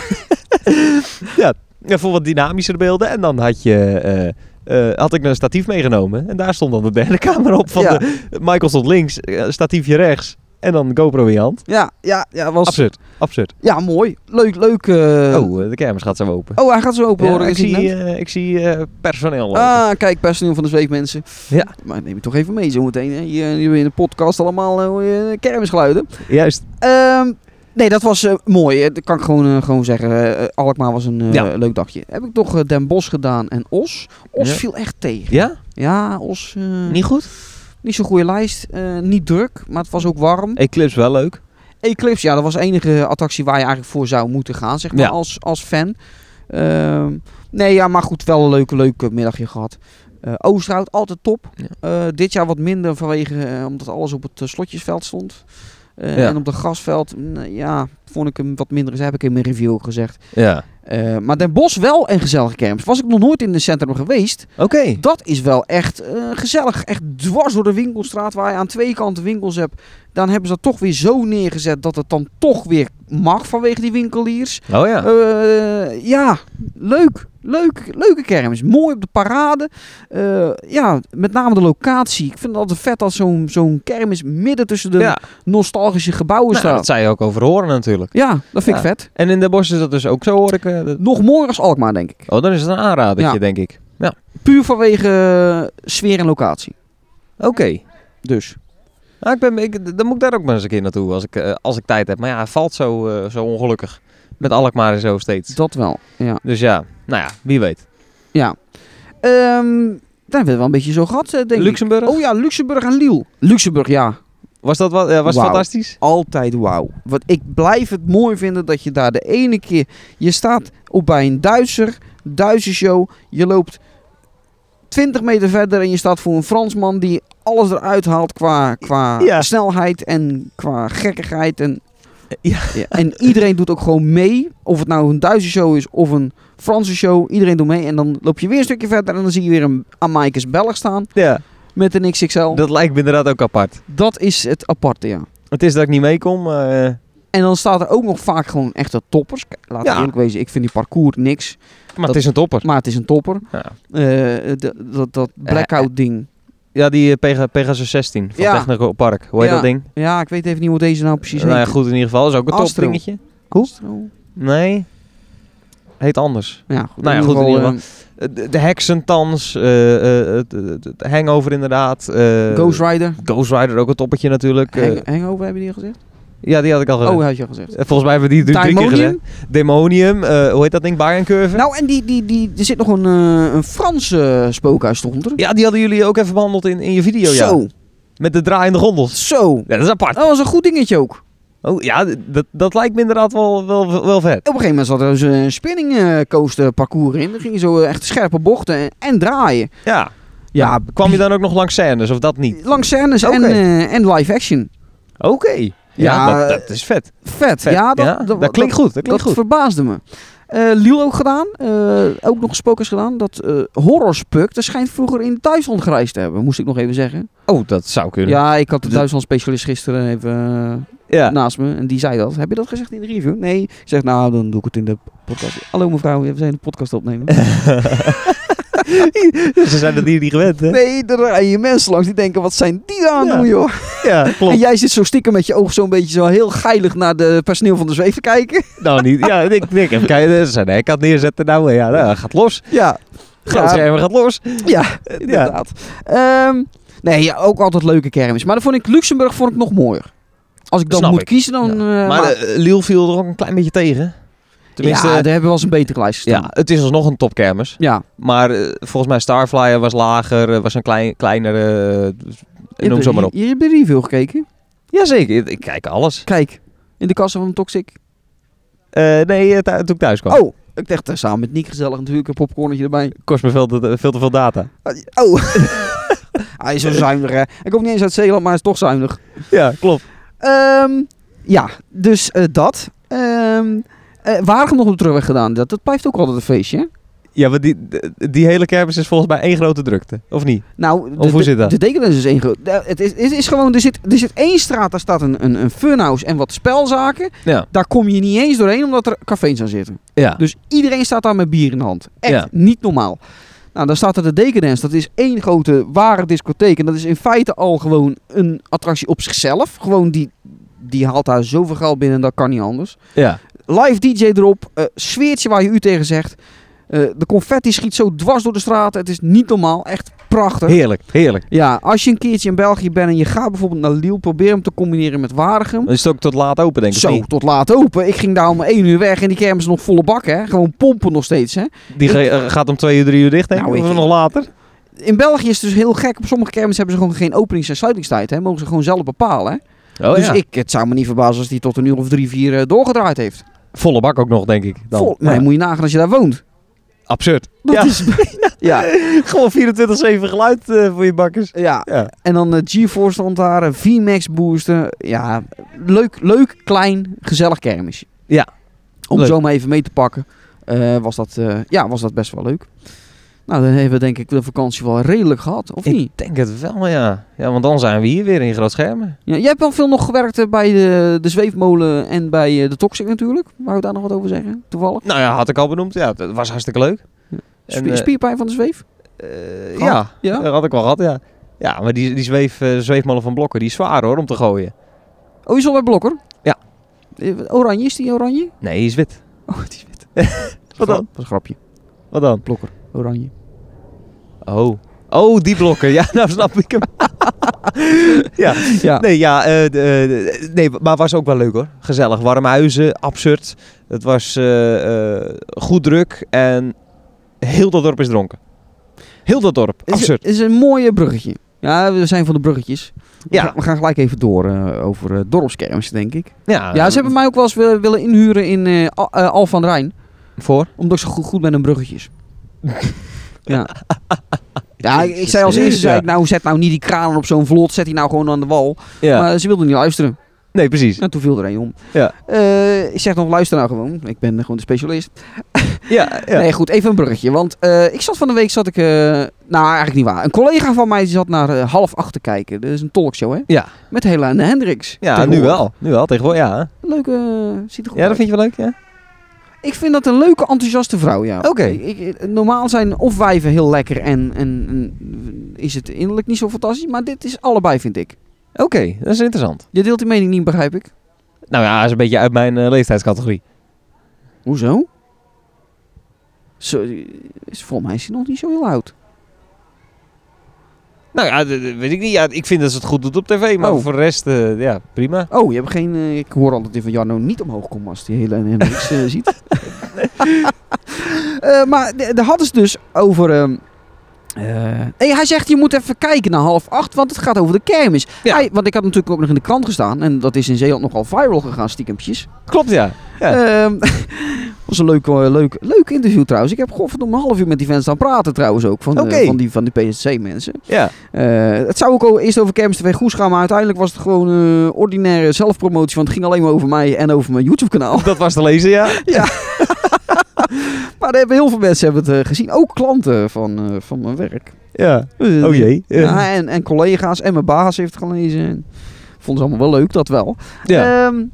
Speaker 3: ja. ja, voor wat dynamischere beelden. En dan had je... eh, eh, had ik een statief meegenomen. En daar stond dan de derde camera op. Van
Speaker 4: Ja.
Speaker 3: de, Michael stond links, eh, statiefje rechts. En dan GoPro in je hand.
Speaker 4: Ja, ja, ja, was,
Speaker 3: Absurd. Absurd.
Speaker 4: ja mooi. Leuk, leuk. eh,
Speaker 3: oh, eh, de kermis gaat zo open.
Speaker 4: oh, hij gaat zo open
Speaker 3: Ja,
Speaker 4: horen.
Speaker 3: ik,
Speaker 4: is hij
Speaker 3: zie,
Speaker 4: net?
Speaker 3: eh, ik zie eh, personeel lopen.
Speaker 4: Ah, kijk, personeel van de zweep mensen.
Speaker 3: Ja.
Speaker 4: Maar neem je toch even mee zo meteen. Hè? Hier, hier in de podcast allemaal eh, hoor je kermisgeluiden.
Speaker 3: Juist.
Speaker 4: Ehm, nee, dat was eh, mooi. Eh, Dat kan ik gewoon, eh, gewoon zeggen. Eh, eh, Alkmaar was een eh,
Speaker 3: Ja.
Speaker 4: leuk dagje. Heb ik toch eh, Den Bosch gedaan en Os. Os
Speaker 3: Ja.
Speaker 4: viel echt tegen.
Speaker 3: Ja?
Speaker 4: Ja, Os. eh,
Speaker 3: Niet goed?
Speaker 4: niet zo'n goede lijst. Eh, niet druk, maar het was ook warm.
Speaker 3: Eclipse wel leuk.
Speaker 4: Eclipse, ja, dat was de enige attractie waar je eigenlijk voor zou moeten gaan, zeg maar,
Speaker 3: Ja.
Speaker 4: als, als fan. Ehm, nee, ja, maar goed, wel een leuke, leuke middagje gehad. Eh Oosterhout, altijd top.
Speaker 3: Ja.
Speaker 4: Eh, dit jaar wat minder vanwege, eh, omdat alles op het eh, slotjesveld stond. Eh,
Speaker 3: Ja.
Speaker 4: En op de grasveld, mm, ja, vond ik hem wat minder. Dat heb ik in mijn review ook gezegd.
Speaker 3: Ja.
Speaker 4: Eh, maar Den Bosch wel een gezellige kermis. Was ik nog nooit in het centrum geweest.
Speaker 3: Oké.
Speaker 4: Dat is wel echt eh, gezellig. Echt dwars door de winkelstraat waar je aan twee kanten winkels hebt. Dan hebben ze dat toch weer zo neergezet dat het dan toch weer mag vanwege die winkeliers.
Speaker 3: Oh ja.
Speaker 4: Eh, ja, leuk. Leuk, leuke kermis. Mooi op de parade. Eh, ja, met name de locatie. Ik vind het altijd vet dat zo'n zo'n kermis midden tussen de
Speaker 3: ja.
Speaker 4: nostalgische gebouwen
Speaker 3: Nou,
Speaker 4: staat.
Speaker 3: dat zei je ook over horen natuurlijk.
Speaker 4: Ja, dat vind ik
Speaker 3: Ja.
Speaker 4: vet.
Speaker 3: En in de bos is dat dus ook zo hoor ik. eh, dat-
Speaker 4: Nog mooier als Alkmaar, denk ik.
Speaker 3: Oh, dan is het een aanradertje
Speaker 4: Ja.
Speaker 3: denk ik. Ja.
Speaker 4: Puur vanwege eh, sfeer en locatie.
Speaker 3: Oké.
Speaker 4: Dus.
Speaker 3: Nou, ik ben, ik, dan moet ik daar ook maar eens een keer naartoe als ik, eh, als ik tijd heb. Maar ja, hij valt zo, eh, zo ongelukkig. Met Alkmaar en zo steeds.
Speaker 4: Dat wel, ja.
Speaker 3: Dus ja, nou ja, wie weet.
Speaker 4: Ja. Ehm, daar hebben we wel een beetje zo gehad, eh, denk
Speaker 3: Luxemburg,
Speaker 4: ik. Oh ja, Luxemburg en Liel. Luxemburg, ja.
Speaker 3: was dat, wat, eh, was het
Speaker 4: Wauw.
Speaker 3: fantastisch?
Speaker 4: Altijd wauw. Want ik blijf het mooi vinden dat je daar de ene keer... Je staat op bij een Duitser, Duitse show. Je loopt 20 meter verder en je staat voor een Fransman die alles eruit haalt qua, qua
Speaker 3: Ja.
Speaker 4: snelheid en qua gekkigheid. En,
Speaker 3: Ja.
Speaker 4: en iedereen doet ook gewoon mee. Of het nou een Duitse show is of een Franse show. Iedereen doet mee. En dan loop je weer een stukje verder en dan zie je weer een Amaikes Belg staan
Speaker 3: Ja.
Speaker 4: met een XXL. Dat,
Speaker 3: Dat lijkt me inderdaad ook apart.
Speaker 4: is het aparte, ja.
Speaker 3: Het is dat ik niet meekom. maar, eh,
Speaker 4: En dan staat er ook nog vaak gewoon echte toppers. Kijk, Laten we
Speaker 3: Ja.
Speaker 4: eerlijk wezen, ik vind die parcours niks.
Speaker 3: maar het is een topper.
Speaker 4: Maar het is een topper.
Speaker 3: Ja. eh.
Speaker 4: Eh, d- dat, dat blackout ding.
Speaker 3: Ja, die eh, Pega- Pegasus 16 van
Speaker 4: Ja.
Speaker 3: Technico Park. Hoe heet
Speaker 4: Ja.
Speaker 3: dat ding?
Speaker 4: Ja, ik weet even niet hoe deze nou precies heet.
Speaker 3: nou ja, goed, in ieder geval. is ook een
Speaker 4: Astro.
Speaker 3: topdingetje.
Speaker 4: Astro?
Speaker 3: Nee. Heet anders.
Speaker 4: Ja, goed.
Speaker 3: Nou ja,
Speaker 4: in ieder
Speaker 3: goed, in
Speaker 4: geval,
Speaker 3: ieder Eh, De, de Hexentans, eh eh, het- het- het Hangover inderdaad. eh,
Speaker 4: eh, Ghost Rider.
Speaker 3: Ghost Rider, ook een toppetje natuurlijk. eh,
Speaker 4: Hang- hangover hebben die al gezegd?
Speaker 3: ja, die had ik al gezegd.
Speaker 4: Oh, had je al gezegd.
Speaker 3: Eh, Volgens mij hebben we die drie, drie keer
Speaker 4: Daimonium?
Speaker 3: gezegd. Demonium, eh, hoe heet dat ding? Bayerncurve?
Speaker 4: Nou, en die, die, die, er zit nog een, eh, een Franse spookhuis stond er.
Speaker 3: ja, die hadden jullie ook even behandeld in, in je video, Oh, ja.
Speaker 4: zo,
Speaker 3: Met de draaiende gondels.
Speaker 4: zo.
Speaker 3: Ja, dat is apart.
Speaker 4: Dat was een goed dingetje ook.
Speaker 3: Oh ja, d- dat, dat lijkt me inderdaad wel, wel, wel vet.
Speaker 4: Op een gegeven moment zat er dus een spinning eh, coaster parcours in. Er gingen zo eh, echt scherpe bochten en, en draaien.
Speaker 3: Ja. Kwam je dan ook nog langs scènes of dat niet?
Speaker 4: Langs scènes en,
Speaker 3: Oké.
Speaker 4: eh, en live action.
Speaker 3: Oké. Ja,
Speaker 4: Ja,
Speaker 3: dat, dat is vet.
Speaker 4: Vet.
Speaker 3: Vet.
Speaker 4: Ja, dat,
Speaker 3: Ja,
Speaker 4: dat,
Speaker 3: dat klinkt goed, dat klinkt goed.
Speaker 4: verbaasde me. Eh Lilo ook gedaan. eh, ook nog spookers gedaan. Dat eh horrorspuk, dat schijnt vroeger in Duitsland gereisd te hebben. Moest ik nog even zeggen.
Speaker 3: Oh, dat zou kunnen.
Speaker 4: Ja, ik had de Duitsland specialist gisteren even eh,
Speaker 3: ja.
Speaker 4: naast me. En die zei dat. Heb je dat gezegd in de review? Nee. Ik zeg, nou, dan doe ik het in de podcast. Hallo mevrouw, we zijn de podcast opnemen. dus
Speaker 3: Ze zijn dat hier niet gewend, hè?
Speaker 4: Nee, er rijden hier mensen langs die denken, wat zijn die aan het
Speaker 3: Ja,
Speaker 4: doen, joh?
Speaker 3: Ja,
Speaker 4: En
Speaker 3: klopt.
Speaker 4: jij zit zo stiekem met je oog zo'n beetje zo heel geilig naar de personeel van de zweef te kijken.
Speaker 3: Nou, niet. Ja, ik denk, even kijken. Ze zijn ik had neerzetten. Nou, ja, nou, gaat los.
Speaker 4: Ja,
Speaker 3: Groot schermen gaat los.
Speaker 4: ja, inderdaad. Ehm, nee, ja, ook altijd leuke kermis. Maar dan vond ik Luxemburg vond ik nog mooier. Als ik dan
Speaker 3: Snap
Speaker 4: moet
Speaker 3: ik.
Speaker 4: kiezen, dan... eh,
Speaker 3: maar eh, Lille viel er ook een klein beetje tegen. Tenminste,
Speaker 4: ja,
Speaker 3: ja,
Speaker 4: daar hebben we wel eens een betere lijst gestaan. Ja.
Speaker 3: het is alsnog een topkermis. Maar eh, volgens mij Starflyer was lager, eh, was een klein, kleinere...
Speaker 4: Je
Speaker 3: eh, noem
Speaker 4: hebt-
Speaker 3: zo maar op.
Speaker 4: Je, je hebt de review gekeken.
Speaker 3: Jazeker, ik- ik kijk alles.
Speaker 4: Kijk, in de kassa van Toxic.
Speaker 3: Eh, nee, eh, thu- toen ik thuis kwam.
Speaker 4: Oh, ik dacht, eh, samen met Nick gezellig natuurlijk, een popcornetje erbij.
Speaker 3: Kost me veel te, veel te veel data.
Speaker 4: Oh, hij is zo zuinig hè. Hij komt niet eens uit Zeeland, maar hij is toch zuinig.
Speaker 3: Ja, klopt.
Speaker 4: Ehm, ja, dus eh, dat. Ehm eh, Waregem nog op de terugweg gedaan. Dat, dat blijft ook altijd een feestje. hè?
Speaker 3: Ja, maar die, d- die hele kermis is volgens mij één grote drukte. Of niet?
Speaker 4: Nou, de,
Speaker 3: Of hoe
Speaker 4: de-
Speaker 3: zit dat?
Speaker 4: De Dekentens is één groot. eh, Het is, het is gewoon, er zit, er zit één straat, daar staat een, een, een funhouse en wat spelzaken.
Speaker 3: Ja.
Speaker 4: Daar kom je niet eens doorheen omdat er cafés aan zitten.
Speaker 3: Ja.
Speaker 4: Dus iedereen staat daar met bier in de hand. Echt
Speaker 3: Ja.
Speaker 4: niet normaal. Nou, dan staat er de Dekendens. Dat is één grote ware discotheek. En dat is in feite al gewoon een attractie op zichzelf. Gewoon die, die haalt daar zoveel geld binnen, dat kan niet anders.
Speaker 3: Ja.
Speaker 4: Live DJ erop, eh sfeertje waar je u tegen zegt. Eh, de confetti schiet zo dwars door de straat. Het is niet normaal. Echt prachtig.
Speaker 3: Heerlijk, heerlijk.
Speaker 4: Ja, als je een keertje in België bent en je gaat bijvoorbeeld naar Lille, probeer hem te combineren met Waregem.
Speaker 3: Dan is het ook tot laat open, denk ik. of
Speaker 4: Zo,
Speaker 3: niet?
Speaker 4: tot laat open. Ik ging daar om één uur weg en die kermis nog volle bak, hè. Gewoon pompen nog steeds, hè.
Speaker 3: Die ge- eh, gaat om twee uur, drie uur dicht, denk ik.
Speaker 4: Nou,
Speaker 3: of
Speaker 4: ik-
Speaker 3: nog later.
Speaker 4: In België is het dus heel gek. Op sommige kermis hebben ze gewoon geen openings- en sluitingstijd, hè. Mogen ze gewoon zelf bepalen, hè.
Speaker 3: Oh,
Speaker 4: dus
Speaker 3: ja.
Speaker 4: ik, het zou me niet verbazen als die tot een uur of drie, vier eh, doorgedraaid heeft.
Speaker 3: Volle bak ook nog, denk ik. Dan.
Speaker 4: Vol, maar
Speaker 3: Ja.
Speaker 4: moet je nagaan als je daar woont.
Speaker 3: Absurd.
Speaker 4: Dat
Speaker 3: ja.
Speaker 4: is... ja.
Speaker 3: Gewoon 24-7 geluid eh, voor je bakkers.
Speaker 4: Ja,
Speaker 3: Ja.
Speaker 4: en dan eh, GeForce stond daar, eh, VMAX boosten. Ja, leuk, leuk, klein, gezellig kermisje.
Speaker 3: Ja.
Speaker 4: Om
Speaker 3: Leuk.
Speaker 4: zo maar even mee te pakken, eh, was, dat, eh, ja, was dat best wel leuk. Nou, dan hebben we denk ik de vakantie wel redelijk gehad, of niet?
Speaker 3: Ik denk het wel, ja. Ja, want dan zijn we hier weer in groot schermen.
Speaker 4: Ja, jij hebt wel veel nog gewerkt eh, bij de, de zweefmolen en bij eh, de Toxic natuurlijk. Wou je daar nog wat over zeggen, toevallig?
Speaker 3: Nou ja, had ik al benoemd. Ja, dat was hartstikke leuk.
Speaker 4: Ja.
Speaker 3: En,
Speaker 4: Spier-
Speaker 3: eh,
Speaker 4: spierpijn van de zweef?
Speaker 3: eh,
Speaker 4: Gehad?
Speaker 3: ja,
Speaker 4: Ja?
Speaker 3: dat had ik wel gehad, ja. Ja, maar die, die zweef, eh, zweefmolen van Blokker, die is zwaar hoor, om te gooien.
Speaker 4: Oh, je is al bij Blokker?
Speaker 3: Ja.
Speaker 4: Eh, Oranje, is die oranje?
Speaker 3: Nee, die is wit.
Speaker 4: Oh, die is wit. Dat
Speaker 3: Wat dan?
Speaker 4: was een grapje.
Speaker 3: Wat dan?
Speaker 4: Blokker, oranje.
Speaker 3: Oh. Oh, die blokker. Ja, nou snap ik hem. ja.
Speaker 4: Ja.
Speaker 3: Nee, ja, eh, d- eh, d- nee, maar was ook wel leuk hoor. Gezellig. Warme huizen, absurd. Het was eh, eh, goed druk en heel dat dorp is dronken. Heel dat dorp,
Speaker 4: Is,
Speaker 3: absurd.
Speaker 4: is een mooie bruggetje. Ja, we zijn van de bruggetjes. We,
Speaker 3: Ja.
Speaker 4: gaan, we gaan gelijk even door eh, over eh dorpskermis, denk ik.
Speaker 3: Ja,
Speaker 4: ja, ze hebben mij ook wel eens willen- willen inhuren in eh Al- eh, Al van Rijn.
Speaker 3: Voor?
Speaker 4: Omdat ik zo goed, goed ben in bruggetjes. ja. Ja, ik, ik zei als eerste, zei ik, nou zet nou niet die kranen op zo'n vlot. Zet die nou gewoon aan de wal.
Speaker 3: Ja.
Speaker 4: Maar ze wilden niet luisteren.
Speaker 3: nee, precies.
Speaker 4: Nou, toen viel er een om.
Speaker 3: Ja.
Speaker 4: Eh, ik zeg nog, luister nou gewoon. Ik ben gewoon de specialist.
Speaker 3: Ja, ja.
Speaker 4: Nee, goed, even een bruggetje. Want eh, ik zat van de week, zat ik, eh, nou eigenlijk niet waar. Een collega van mij die zat naar eh, half acht te kijken. Dat is een talkshow, hè?
Speaker 3: Ja.
Speaker 4: Met Helene Hendricks.
Speaker 3: ja nu
Speaker 4: Tegenwoordig.
Speaker 3: wel. Nu wel, tegenwoordig. Ja, hè?
Speaker 4: Leuk, eh, ziet er goed
Speaker 3: ja dat
Speaker 4: uit.
Speaker 3: vind je wel leuk, ja?
Speaker 4: Ik vind dat een leuke, enthousiaste vrouw, ja.
Speaker 3: Oké.
Speaker 4: Ik- ik- normaal zijn of wijven heel lekker en, en, en is het innerlijk niet zo fantastisch. Maar dit is allebei, vind ik.
Speaker 3: Oké, dat is interessant.
Speaker 4: Je deelt die mening niet, begrijp ik.
Speaker 3: Nou ja, is een beetje uit mijn eh, leeftijdscategorie.
Speaker 4: Hoezo? Zo, is, volgens mij is hij nog niet zo heel oud.
Speaker 3: Nou ja, d- d- weet ik niet. Ja, ik vind dat ze het goed doet op tv, maar
Speaker 4: Oh.
Speaker 3: voor de rest, eh, ja, prima.
Speaker 4: Oh, je hebt geen. eh, ik hoor altijd dat die van Jarno niet omhoog komt als die hele Hendrix eh, ziet. Eh, maar d- daar hadden ze dus over. ehm, hey, hij zegt, je moet even kijken naar half acht, want het gaat over de kermis.
Speaker 3: Ja.
Speaker 4: Hij- want ik had natuurlijk ook nog in de krant gestaan. En dat is in Zeeland nogal viral gegaan, stiekempjes.
Speaker 3: Klopt, ja. Ja.
Speaker 4: Ehm, was een leuk, eh, leuk, leuk interview trouwens. Ik heb godverdomme een half uur met die fans aan praten trouwens ook. Van, eh,
Speaker 3: Oké.
Speaker 4: van die, van die PSC mensen.
Speaker 3: ja.
Speaker 4: Eh, het zou ook al eerst over Kermis TV Goes gaan, maar uiteindelijk was het gewoon eh, ordinaire zelfpromotie. Want het ging alleen maar over mij en over mijn YouTube kanaal.
Speaker 3: Dat was te lezen, ja.
Speaker 4: Maar daar hebben heel veel mensen hebben het eh, gezien. Ook klanten van, eh, van mijn werk.
Speaker 3: ja.
Speaker 4: Eh,
Speaker 3: Oh jee. Eh,
Speaker 4: Ja, en, en collega's en mijn baas heeft het gelezen. Vonden ze allemaal wel leuk, dat wel.
Speaker 3: ja.
Speaker 4: Ehm,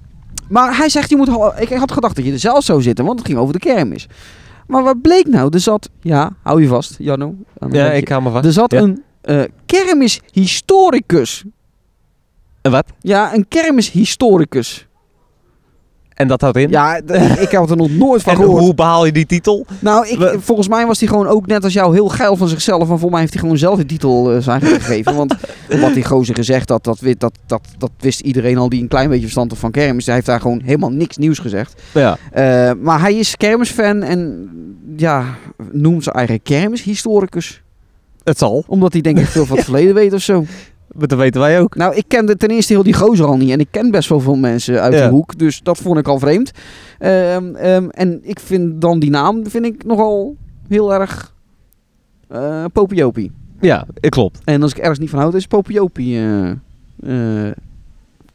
Speaker 4: maar hij zegt, je moet hal- ik had gedacht dat je er zelf zou zitten, want het ging over de kermis. Maar wat bleek nou? Er zat, ja, hou je vast, Janno. aan mijn
Speaker 3: ja,
Speaker 4: randje.
Speaker 3: ik hou me vast.
Speaker 4: Er zat
Speaker 3: Ja.
Speaker 4: een eh, kermishistoricus.
Speaker 3: En wat?
Speaker 4: Ja, een kermishistoricus.
Speaker 3: En dat houdt in?
Speaker 4: Ja, d- ik- ik had er nog nooit van
Speaker 3: En
Speaker 4: gehoord.
Speaker 3: hoe behaal je die titel?
Speaker 4: Nou, ik,
Speaker 3: We-
Speaker 4: volgens mij was hij gewoon ook net als jou heel geil van zichzelf. En volgens mij heeft hij gewoon zelf de titel eh, zijn gegeven. Want wat die gozer gezegd had, dat, wi- dat, dat, dat wist iedereen al die een klein beetje verstand had van kermis. Hij heeft daar gewoon helemaal niks nieuws gezegd.
Speaker 3: Ja.
Speaker 4: Eh, maar hij is kermisfan en ja, noemt zijn eigen kermishistoricus.
Speaker 3: Het zal.
Speaker 4: Omdat hij denk ik veel van het verleden weet of zo.
Speaker 3: Maar dat weten wij ook.
Speaker 4: Nou, ik kende ten eerste heel die gozer al niet. En ik ken best wel veel mensen uit
Speaker 3: Ja.
Speaker 4: de hoek. Dus dat vond ik al vreemd. Ehm, ehm, en ik vind dan die naam vind ik nogal heel erg eh popiopie.
Speaker 3: Ja, eh, klopt.
Speaker 4: En als ik ergens niet van houd, is popiopie eh, eh,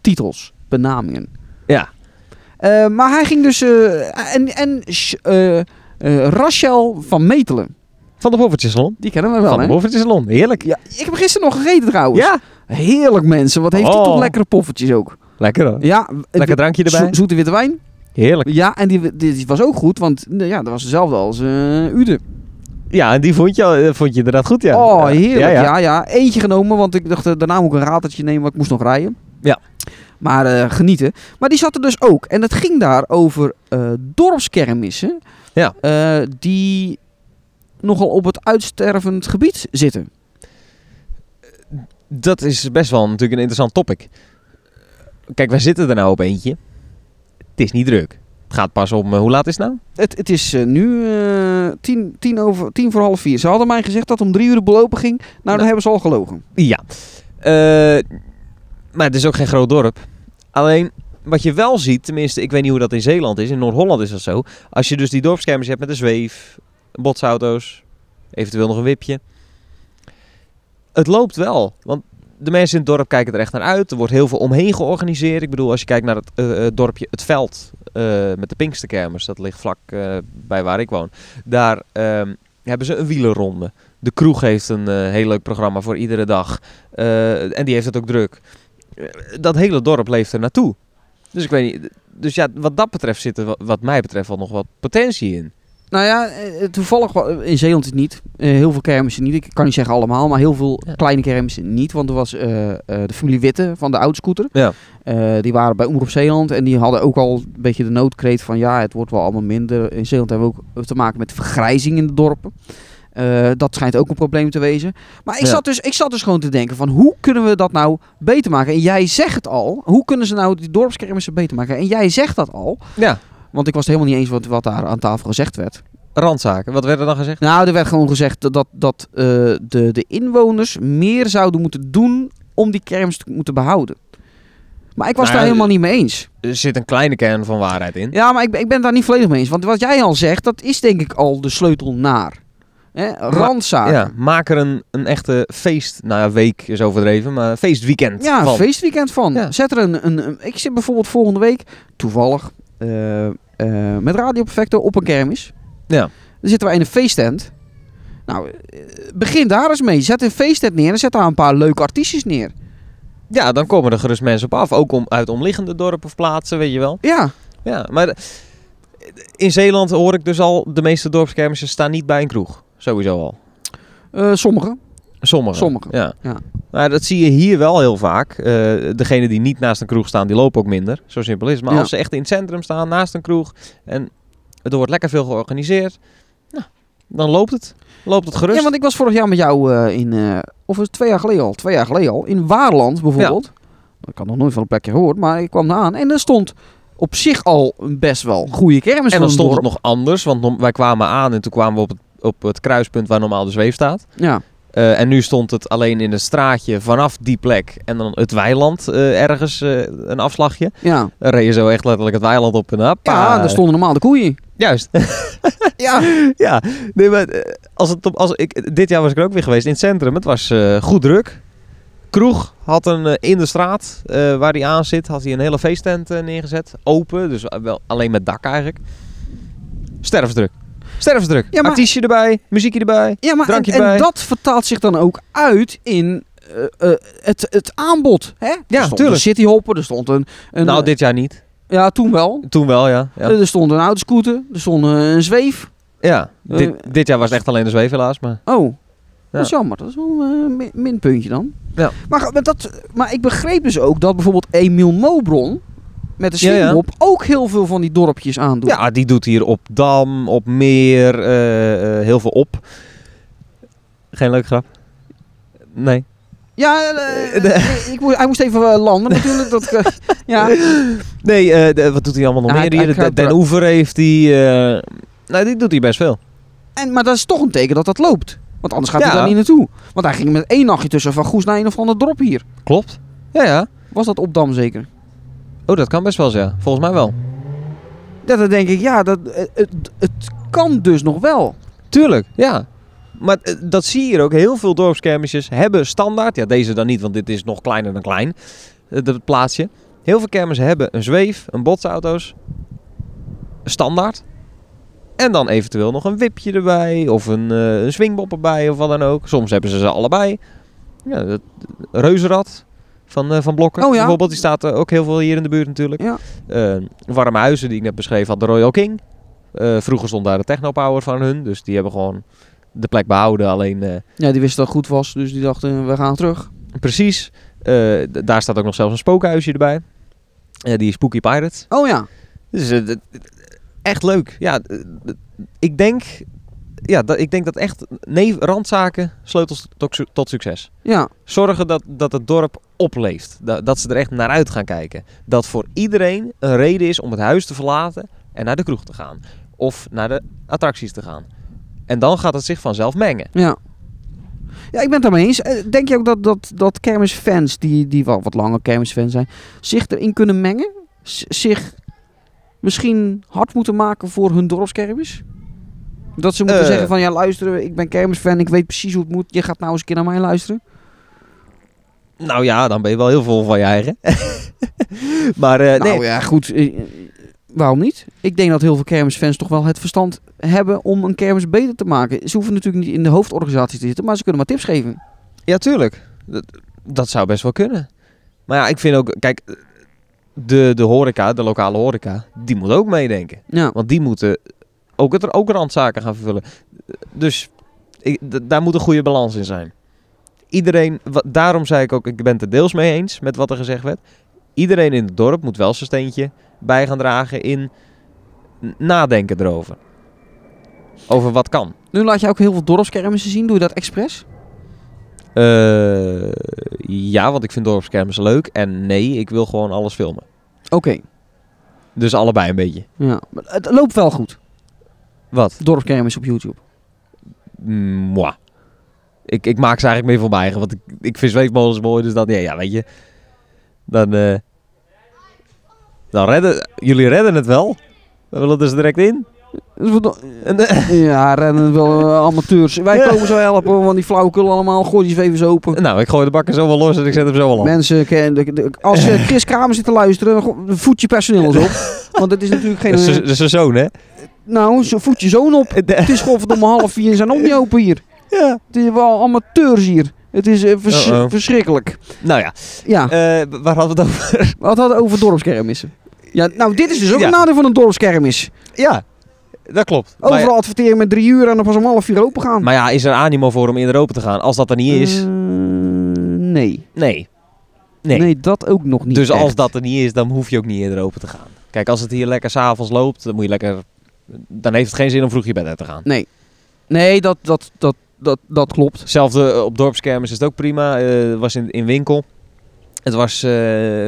Speaker 4: titels, benamingen.
Speaker 3: Ja.
Speaker 4: Eh, maar hij ging dus... eh, en en Sh- eh, eh, Rachel van Metelen.
Speaker 3: Van de Boffertjesalon.
Speaker 4: Die kennen we wel,
Speaker 3: Van de
Speaker 4: hè?
Speaker 3: Boffertjesalon. Heerlijk.
Speaker 4: Ja, ik heb gisteren nog gegeten trouwens.
Speaker 3: Ja.
Speaker 4: Heerlijk mensen. Wat heeft hij
Speaker 3: Oh.
Speaker 4: toch lekkere poffertjes ook.
Speaker 3: Lekker hoor.
Speaker 4: Ja, het-
Speaker 3: Lekker drankje erbij.
Speaker 4: Zo- zoete witte wijn.
Speaker 3: Heerlijk.
Speaker 4: Ja, en die, die, die was ook goed, want nou ja, dat was dezelfde als eh Ude.
Speaker 3: Ja, en die vond je, eh, vond je inderdaad goed, ja.
Speaker 4: Oh,
Speaker 3: Ja.
Speaker 4: heerlijk. Ja
Speaker 3: Ja,
Speaker 4: ja.
Speaker 3: ja.
Speaker 4: Eentje genomen, want ik dacht eh, daarna moet ik een ratertje nemen, want ik moest nog rijden.
Speaker 3: Ja.
Speaker 4: Maar eh, genieten. Maar die zat er dus ook. En het ging daar over eh, dorpskermissen.
Speaker 3: Ja.
Speaker 4: eh, die nogal op het uitstervend gebied zitten.
Speaker 3: Dat is best wel natuurlijk een interessant topic. Kijk, wij zitten er nou op eentje. Het is niet druk. Het gaat pas om, eh, hoe laat is het nou?
Speaker 4: Het, het is eh, nu eh, tien, tien, over, tien voor half vier. Ze hadden mij gezegd dat om drie uur de belopen ging. Nou, dan
Speaker 3: Nou.
Speaker 4: hebben ze al gelogen.
Speaker 3: Ja. Eh, maar het is ook geen groot dorp. Alleen, wat je wel ziet, tenminste, ik weet niet hoe dat in Zeeland is. In Noord-Holland is dat zo. Als je dus die dorpskermis hebt met een zweef, botsauto's, eventueel nog een wipje. Het loopt wel, want de mensen in het dorp kijken er echt naar uit. Er wordt heel veel omheen georganiseerd. Ik bedoel, als je kijkt naar het eh, eh, dorpje Het Veld eh, met de Pinksterkermis, dat ligt vlak eh, bij waar ik woon. Daar ehm, hebben ze een wielerronde. De kroeg heeft een eh, heel leuk programma voor iedere dag. Eh, en die heeft het ook druk. Eh, Dat hele dorp leeft er naartoe. Dus ik weet niet. Dus ja, wat dat betreft zit er wa- wat mij betreft wel nog wat potentie in.
Speaker 4: Nou ja, eh, toevallig wa- in Zeeland is het niet. Eh, heel veel kermissen niet. Ik kan niet zeggen allemaal, maar heel veel
Speaker 3: Ja.
Speaker 4: kleine kermissen niet. Want er was eh, eh, de familie Witte van de oudscooter.
Speaker 3: Ja.
Speaker 4: Eh, die waren bij Omroep Zeeland en die hadden ook al een beetje de noodkreet van ja, het wordt wel allemaal minder. In Zeeland hebben we ook eh, te maken met vergrijzing in de dorpen. Eh, dat schijnt ook een probleem te wezen. Maar ik,
Speaker 3: Ja.
Speaker 4: zat dus, ik zat dus gewoon te denken van hoe kunnen we dat nou beter maken? En jij zegt het al, hoe kunnen ze nou die dorpskermissen beter maken? En jij zegt dat al,
Speaker 3: Ja,
Speaker 4: want ik was het helemaal niet eens wat, wat daar aan tafel gezegd werd.
Speaker 3: randzaken. Wat werd er dan gezegd?
Speaker 4: Nou, er werd gewoon gezegd dat, dat, dat, eh, de, de inwoners meer zouden moeten doen om die kermis te moeten behouden. Maar ik was
Speaker 3: Nou
Speaker 4: daar
Speaker 3: ja,
Speaker 4: helemaal niet mee eens.
Speaker 3: Er zit een kleine kern van waarheid in.
Speaker 4: Ja, maar ik, ben- ik ben daar niet volledig mee eens. Want wat jij al zegt, dat is denk ik al de sleutel naar. Hè? Randzaken.
Speaker 3: Ja,
Speaker 4: Ja,
Speaker 3: maak er een, een echte feest. Nou ja, week is overdreven, maar een feestweekend.
Speaker 4: een
Speaker 3: van.
Speaker 4: feestweekend van.
Speaker 3: Ja.
Speaker 4: Zet er een, een, een- Ik zit bijvoorbeeld volgende week, toevallig, eh, eh, met Radio Perfecto op een kermis.
Speaker 3: Ja.
Speaker 4: Dan zitten wij in een feesttent. Nou, eh, begin daar eens mee. Zet een feesttent neer en zet daar een paar leuke artiestjes neer.
Speaker 3: ja, dan komen er gerust mensen op af. Ook om, uit omliggende dorpen of plaatsen, weet je wel.
Speaker 4: Ja,
Speaker 3: Ja, maar de- in Zeeland hoor ik dus al... de meeste dorpskermissen staan niet bij een kroeg. Sowieso al.
Speaker 4: eh, sommige.
Speaker 3: Sommige.
Speaker 4: Sommige,
Speaker 3: Ja.
Speaker 4: ja.
Speaker 3: Maar dat zie je hier wel heel vaak. Eh degenen die niet naast een kroeg staan, die lopen ook minder. Zo simpel is het. Maar
Speaker 4: Ja.
Speaker 3: als ze echt in het centrum staan, naast een kroeg... en er wordt lekker veel georganiseerd... Nou, dan loopt het. Loopt het gerust.
Speaker 4: Ja, want ik was vorig jaar met jou eh, in, eh, of was het twee jaar geleden al, twee jaar geleden al, in Waarland bijvoorbeeld. Ik had nog nooit van een plekje gehoord, maar ik kwam aan en er stond op zich al een best wel goede kermis
Speaker 3: En
Speaker 4: van
Speaker 3: dan stond
Speaker 4: dorp.
Speaker 3: het nog anders, want nom- wij kwamen aan en toen kwamen we op het, op het kruispunt waar normaal de zweef staat.
Speaker 4: Ja,
Speaker 3: Eh, en nu stond het alleen in een straatje vanaf die plek en dan het weiland eh, ergens eh, een afslagje.
Speaker 4: Ja,
Speaker 3: Dan reed je zo echt letterlijk het weiland op en happa.
Speaker 4: ja daar stonden normaal de koeien.
Speaker 3: Juist.
Speaker 4: Ja,
Speaker 3: Ja, nee, maar eh, als het op, als ik, dit jaar was ik er ook weer geweest in het centrum. Het was eh, goed druk. Kroeg had een eh, in de straat eh, waar hij aan zit, had hij een hele feesttent eh, neergezet. Open, dus wel alleen met dak eigenlijk. Sterfsdruk. Sterfsdruk.
Speaker 4: Ja, maar-
Speaker 3: Artiestje erbij, muziekje erbij.
Speaker 4: ja maar en,
Speaker 3: Drankje
Speaker 4: en
Speaker 3: erbij.
Speaker 4: dat vertaalt zich dan ook uit in eh, eh, het, het aanbod. Hè? er stond
Speaker 3: tuurlijk.
Speaker 4: een cityhopper, er stond een... een eh,
Speaker 3: nou, dit jaar niet.
Speaker 4: Ja, toen wel.
Speaker 3: Toen wel, ja. Ja,
Speaker 4: Eh, Er stond een autoscooter, er stond eh, een zweef.
Speaker 3: ja.
Speaker 4: eh,
Speaker 3: dit, dit jaar was het echt alleen de zweef helaas, maar...
Speaker 4: Oh,
Speaker 3: Ja.
Speaker 4: dat is jammer. Dat is wel eh, een min- minpuntje dan.
Speaker 3: Ja.
Speaker 4: Maar, ga- maar, dat, maar ik begreep dus ook dat bijvoorbeeld Emiel Mobron met de
Speaker 3: Ja, ja.
Speaker 4: swinghop ook heel veel van die dorpjes aandoet.
Speaker 3: Ja, die doet hier op Dam, op Meer, eh, eh, heel veel op. Geen leuke grap? Nee.
Speaker 4: Ja, eh, eh, ik moest, hij moest even eh, landen natuurlijk. Dat, ik, eh, ja.
Speaker 3: Nee, eh, de- wat doet hij allemaal nog
Speaker 4: Ja,
Speaker 3: meer
Speaker 4: hij-
Speaker 3: hier?
Speaker 4: hij
Speaker 3: De- Den
Speaker 4: kruipt
Speaker 3: Oever heeft hij... eh, nou, die doet hij best veel.
Speaker 4: En, maar dat is toch een teken dat dat loopt. Want anders gaat hij
Speaker 3: Ja.
Speaker 4: daar niet naartoe. Want hij ging met één nachtje tussen van Goes naar een of ander drop hier.
Speaker 3: Klopt. Ja, ja.
Speaker 4: Was dat op Dam zeker?
Speaker 3: Oh, dat kan best wel, ja. Volgens mij wel.
Speaker 4: Ja, dan denk ik, ja, dat, eh, het, het kan dus nog wel.
Speaker 3: Tuurlijk, ja. Maar eh, dat zie je hier ook. Heel veel dorpskermisjes hebben standaard... Ja, deze dan niet, want dit is nog kleiner dan klein. eh, Dat plaatsje. Heel veel kermissen hebben een zweef, een botsauto's. Standaard. En dan eventueel nog een wipje erbij. Of een, eh een swingbop erbij, of wat dan ook. Soms hebben ze ze allebei. Ja, dat, reuzenrad van, eh van Blokker
Speaker 4: Oh ja.
Speaker 3: bijvoorbeeld. Die staat eh, ook heel veel hier in de buurt natuurlijk.
Speaker 4: Ja.
Speaker 3: Eh, warme huizen, die ik net beschreef, had de Royal King. Eh, vroeger stond daar de Techno Power van hun. Dus die hebben gewoon de plek behouden. Alleen eh,
Speaker 4: Ja, die wist dat het goed was, dus die dachten, we gaan terug.
Speaker 3: precies. eh, d- daar staat ook nog zelfs een spookhuisje erbij. Eh, die Spooky Pirates.
Speaker 4: Oh ja,
Speaker 3: Dus eh, d- d- echt leuk. Ja, d- d- ik denk. Ja, dat, ik denk dat echt nee, randzaken sleutels tot, su- tot succes.
Speaker 4: ja.
Speaker 3: Zorgen dat, dat het dorp opleeft. Da- dat ze er echt naar uit gaan kijken. Dat voor iedereen een reden is om het huis te verlaten en naar de kroeg te gaan. Of naar de attracties te gaan. En dan gaat het zich vanzelf mengen.
Speaker 4: Ja. Ja, ik ben het daarmee eens. Eh, Denk je ook dat, dat, dat kermisfans, die, die wel wat langer kermisfans zijn, zich erin kunnen mengen? Z- zich misschien hard moeten maken voor hun dorpskermis? Dat ze moeten
Speaker 3: Eh.
Speaker 4: zeggen van, ja luister, ik ben kermisfan, ik weet precies hoe het moet. Je gaat nou eens een keer naar mij luisteren.
Speaker 3: Nou ja, dan ben je wel heel vol van je eigen. maar eh,
Speaker 4: nou
Speaker 3: nee,
Speaker 4: ja, goed. eh, eh, Waarom niet? Ik denk dat heel veel kermisfans toch wel het verstand hebben om een kermis beter te maken. Ze hoeven natuurlijk niet in de hoofdorganisatie te zitten, maar ze kunnen maar tips geven.
Speaker 3: ja, tuurlijk. Dat, dat zou best wel kunnen. Maar ja, ik vind ook, kijk, de, de horeca, de lokale horeca, die moet ook meedenken.
Speaker 4: Ja,
Speaker 3: Want die moeten ook, het, ook randzaken gaan vervullen. Dus ik, d- daar moet een goede balans in zijn. Iedereen, wa- daarom zei ik ook, ik ben het er deels mee eens met wat er gezegd werd. Iedereen in het dorp moet wel zijn steentje bij gaan dragen in n- nadenken erover. Over wat kan.
Speaker 4: nu laat je ook heel veel dorpskermissen zien. Doe je dat expres?
Speaker 3: Eh, ja, want ik vind dorpskermissen leuk. En nee, ik wil gewoon alles filmen.
Speaker 4: Oké.
Speaker 3: Dus allebei een beetje.
Speaker 4: Ja, maar het loopt wel goed.
Speaker 3: Wat?
Speaker 4: Dorpskermis op YouTube.
Speaker 3: Mm, mwah. Ik, ik maak ze eigenlijk meer voor mijn eigen. Want ik, ik vind zweefmolens mooi. Dus dan, ja, ja weet je. Dan, eh, dan redden... Jullie redden het wel. We willen dus direct in. En, eh,
Speaker 4: Dus Ja, rennen wel eh, amateurs. Wij
Speaker 3: Ja.
Speaker 4: komen zo helpen, want die flauwekul allemaal. Gooi die even open.
Speaker 3: nou, ik gooi de bakken zo wel los en ik zet hem zo wel aan.
Speaker 4: Mensen, ken- de- de- als je Chris Kramer zit te luisteren, go- voed je personeel eens op. Want het is natuurlijk geen...
Speaker 3: Dat is
Speaker 4: eh,
Speaker 3: z'n- dat is zijn zoon, hè?
Speaker 4: nou, zo- voed je zoon op. Het is gewoon verdomme half vier en zijn nog niet open hier.
Speaker 3: Ja.
Speaker 4: Het is wel amateurs hier. Het is eh, vers-
Speaker 3: Uh-oh.
Speaker 4: verschrikkelijk.
Speaker 3: Nou ja,
Speaker 4: Ja,
Speaker 3: eh, waar hadden we het over?
Speaker 4: we hadden het over dorpskermissen. Ja, nou, dit is dus ook
Speaker 3: Ja.
Speaker 4: een nadeel van een dorpskermis.
Speaker 3: Ja, dat klopt. Maar-
Speaker 4: Overal adverteren met drie uur en dan pas om half vier open gaan.
Speaker 3: Maar ja, is er animo voor om eerder open te gaan? Als dat er niet is,
Speaker 4: Eh, nee.
Speaker 3: nee. Nee.
Speaker 4: nee. dat ook nog niet.
Speaker 3: dus als
Speaker 4: echt.
Speaker 3: dat er niet is, dan hoef je ook niet eerder open te gaan. Kijk, als het hier lekker s'avonds loopt, dan moet je lekker... Dan heeft het geen zin om vroeg je bed uit te gaan.
Speaker 4: Nee, dat, dat, dat, dat, dat klopt.
Speaker 3: Hetzelfde eh, op dorpskermis is het ook prima. Eh was in, in winkel. Het was eh,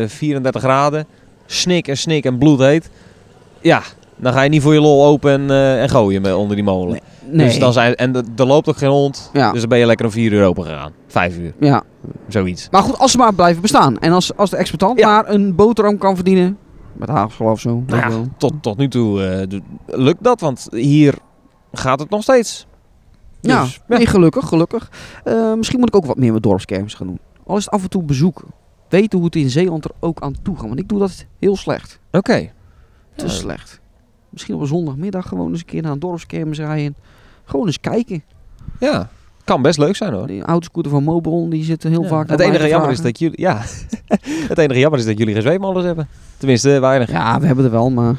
Speaker 3: 34 graden. Snik en snik en bloedheet. Ja, Dan ga je niet voor je lol open en, eh, en gooien met- onder die molen.
Speaker 4: Nee.
Speaker 3: Dus dan zijn, en d- er loopt ook geen hond.
Speaker 4: Ja.
Speaker 3: Dus dan ben je lekker om vier uur open gegaan. Vijf uur,
Speaker 4: ja.
Speaker 3: zoiets.
Speaker 4: Maar goed, als ze maar blijven bestaan. En als, als de exploitant
Speaker 3: Ja.
Speaker 4: maar een boterham kan verdienen. Met haagslag of zo. weet
Speaker 3: Nou
Speaker 4: ik
Speaker 3: ja,
Speaker 4: wel.
Speaker 3: tot, tot nu toe eh, d- lukt dat, want hier gaat het nog steeds.
Speaker 4: ja.
Speaker 3: Dus, ja.
Speaker 4: Nee, gelukkig, gelukkig. Eh, misschien moet ik ook wat meer met dorpskermis gaan doen. Al is het af en toe bezoeken. Weten hoe het in Zeeland er ook aan toe gaat. Want ik doe dat heel slecht.
Speaker 3: Oké.
Speaker 4: Te slecht. Misschien op een zondagmiddag gewoon eens een keer naar een dorpskermis rijden. Gewoon eens kijken.
Speaker 3: Ja, kan best leuk zijn hoor.
Speaker 4: Oh, Die autoscooter van Mobron, die zitten heel
Speaker 3: Ja.
Speaker 4: vaak...
Speaker 3: het
Speaker 4: aan
Speaker 3: enige
Speaker 4: mij te
Speaker 3: jammer is
Speaker 4: vragen.
Speaker 3: dat jullie, ja, het enige jammer is dat jullie geen zweepmolens hebben. Tenminste, weinig.
Speaker 4: Ja, we hebben er wel, maar...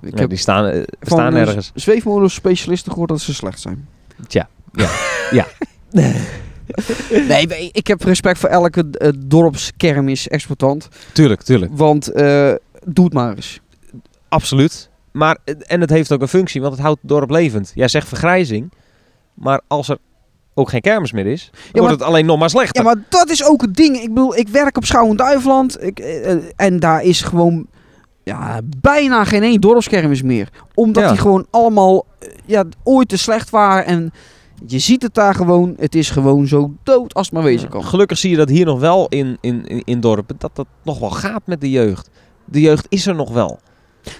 Speaker 4: Ik
Speaker 3: Ja,
Speaker 4: heb
Speaker 3: die staan, eh,
Speaker 4: van
Speaker 3: staan
Speaker 4: een
Speaker 3: ergens.
Speaker 4: s- zweefmolenspecialisten gehoord dat ze slecht zijn.
Speaker 3: Tja, ja, ja.
Speaker 4: nee, we- ik heb respect voor elke eh, dorpskermis exploitant.
Speaker 3: Tuurlijk, tuurlijk.
Speaker 4: Want eh doe het maar eens.
Speaker 3: Absoluut. Maar, eh, en het heeft ook een functie, want het houdt het dorp levend. Jij zegt vergrijzing, maar als er ook geen kermis meer is, dan
Speaker 4: maar-
Speaker 3: wordt het alleen nog maar
Speaker 4: Ja,
Speaker 3: slechter.
Speaker 4: maar dat is ook het ding. Ik bedoel, ik werk op Schouwen-Duiveland. Ik, eh, eh, en daar is gewoon ja, bijna geen één dorpskermis meer. Omdat
Speaker 3: Ja.
Speaker 4: die gewoon allemaal eh, ja, ooit te slecht waren. En je ziet het daar gewoon. Het is gewoon zo dood als het maar wezen kan.
Speaker 3: Gelukkig zie je dat hier nog wel in, in, in, in dorpen, dat dat nog wel gaat met de jeugd. De jeugd is er nog wel.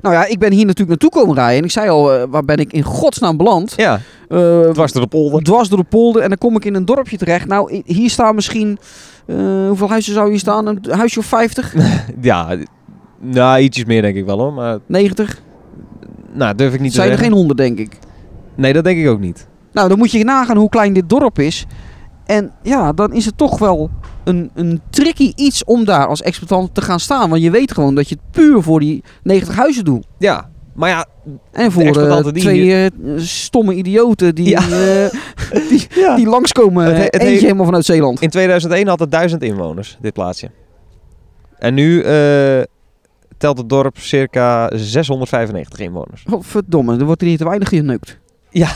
Speaker 4: Nou ja, ik ben hier natuurlijk naartoe komen rijden. En ik zei al, eh, waar ben ik in godsnaam beland?
Speaker 3: Ja,
Speaker 4: Eh,
Speaker 3: dwars door de polder.
Speaker 4: dwars door de polder en dan kom ik in een dorpje terecht. Nou, i- hier staan misschien... eh, hoeveel huizen zou hier staan? Een huisje of 50?
Speaker 3: Ja, nou, ietsjes meer denk ik wel hoor, maar
Speaker 4: 90?
Speaker 3: nou, durf ik niet
Speaker 4: Zijn
Speaker 3: te
Speaker 4: er
Speaker 3: zeggen.
Speaker 4: geen 100, denk ik.
Speaker 3: Nee, dat denk ik ook niet.
Speaker 4: Nou, dan moet je nagaan hoe klein dit dorp is. En ja, dan is het toch wel een, een tricky iets om daar als exploitant te gaan staan. Want je weet gewoon dat je het puur voor die 90 huizen doet.
Speaker 3: Ja, maar ja,
Speaker 4: En voor eh,
Speaker 3: exploitanten die
Speaker 4: twee eh, stomme idioten die,
Speaker 3: Ja.
Speaker 4: eh, die,
Speaker 3: Ja.
Speaker 4: die langskomen.
Speaker 3: Het he- het
Speaker 4: Eentje
Speaker 3: he-
Speaker 4: helemaal vanuit Zeeland.
Speaker 3: in 2001 had het duizend inwoners, dit plaatsje. En nu eh, telt het dorp circa 695 inwoners.
Speaker 4: Oh, verdomme, er wordt hier te weinig geneukt.
Speaker 3: Ja.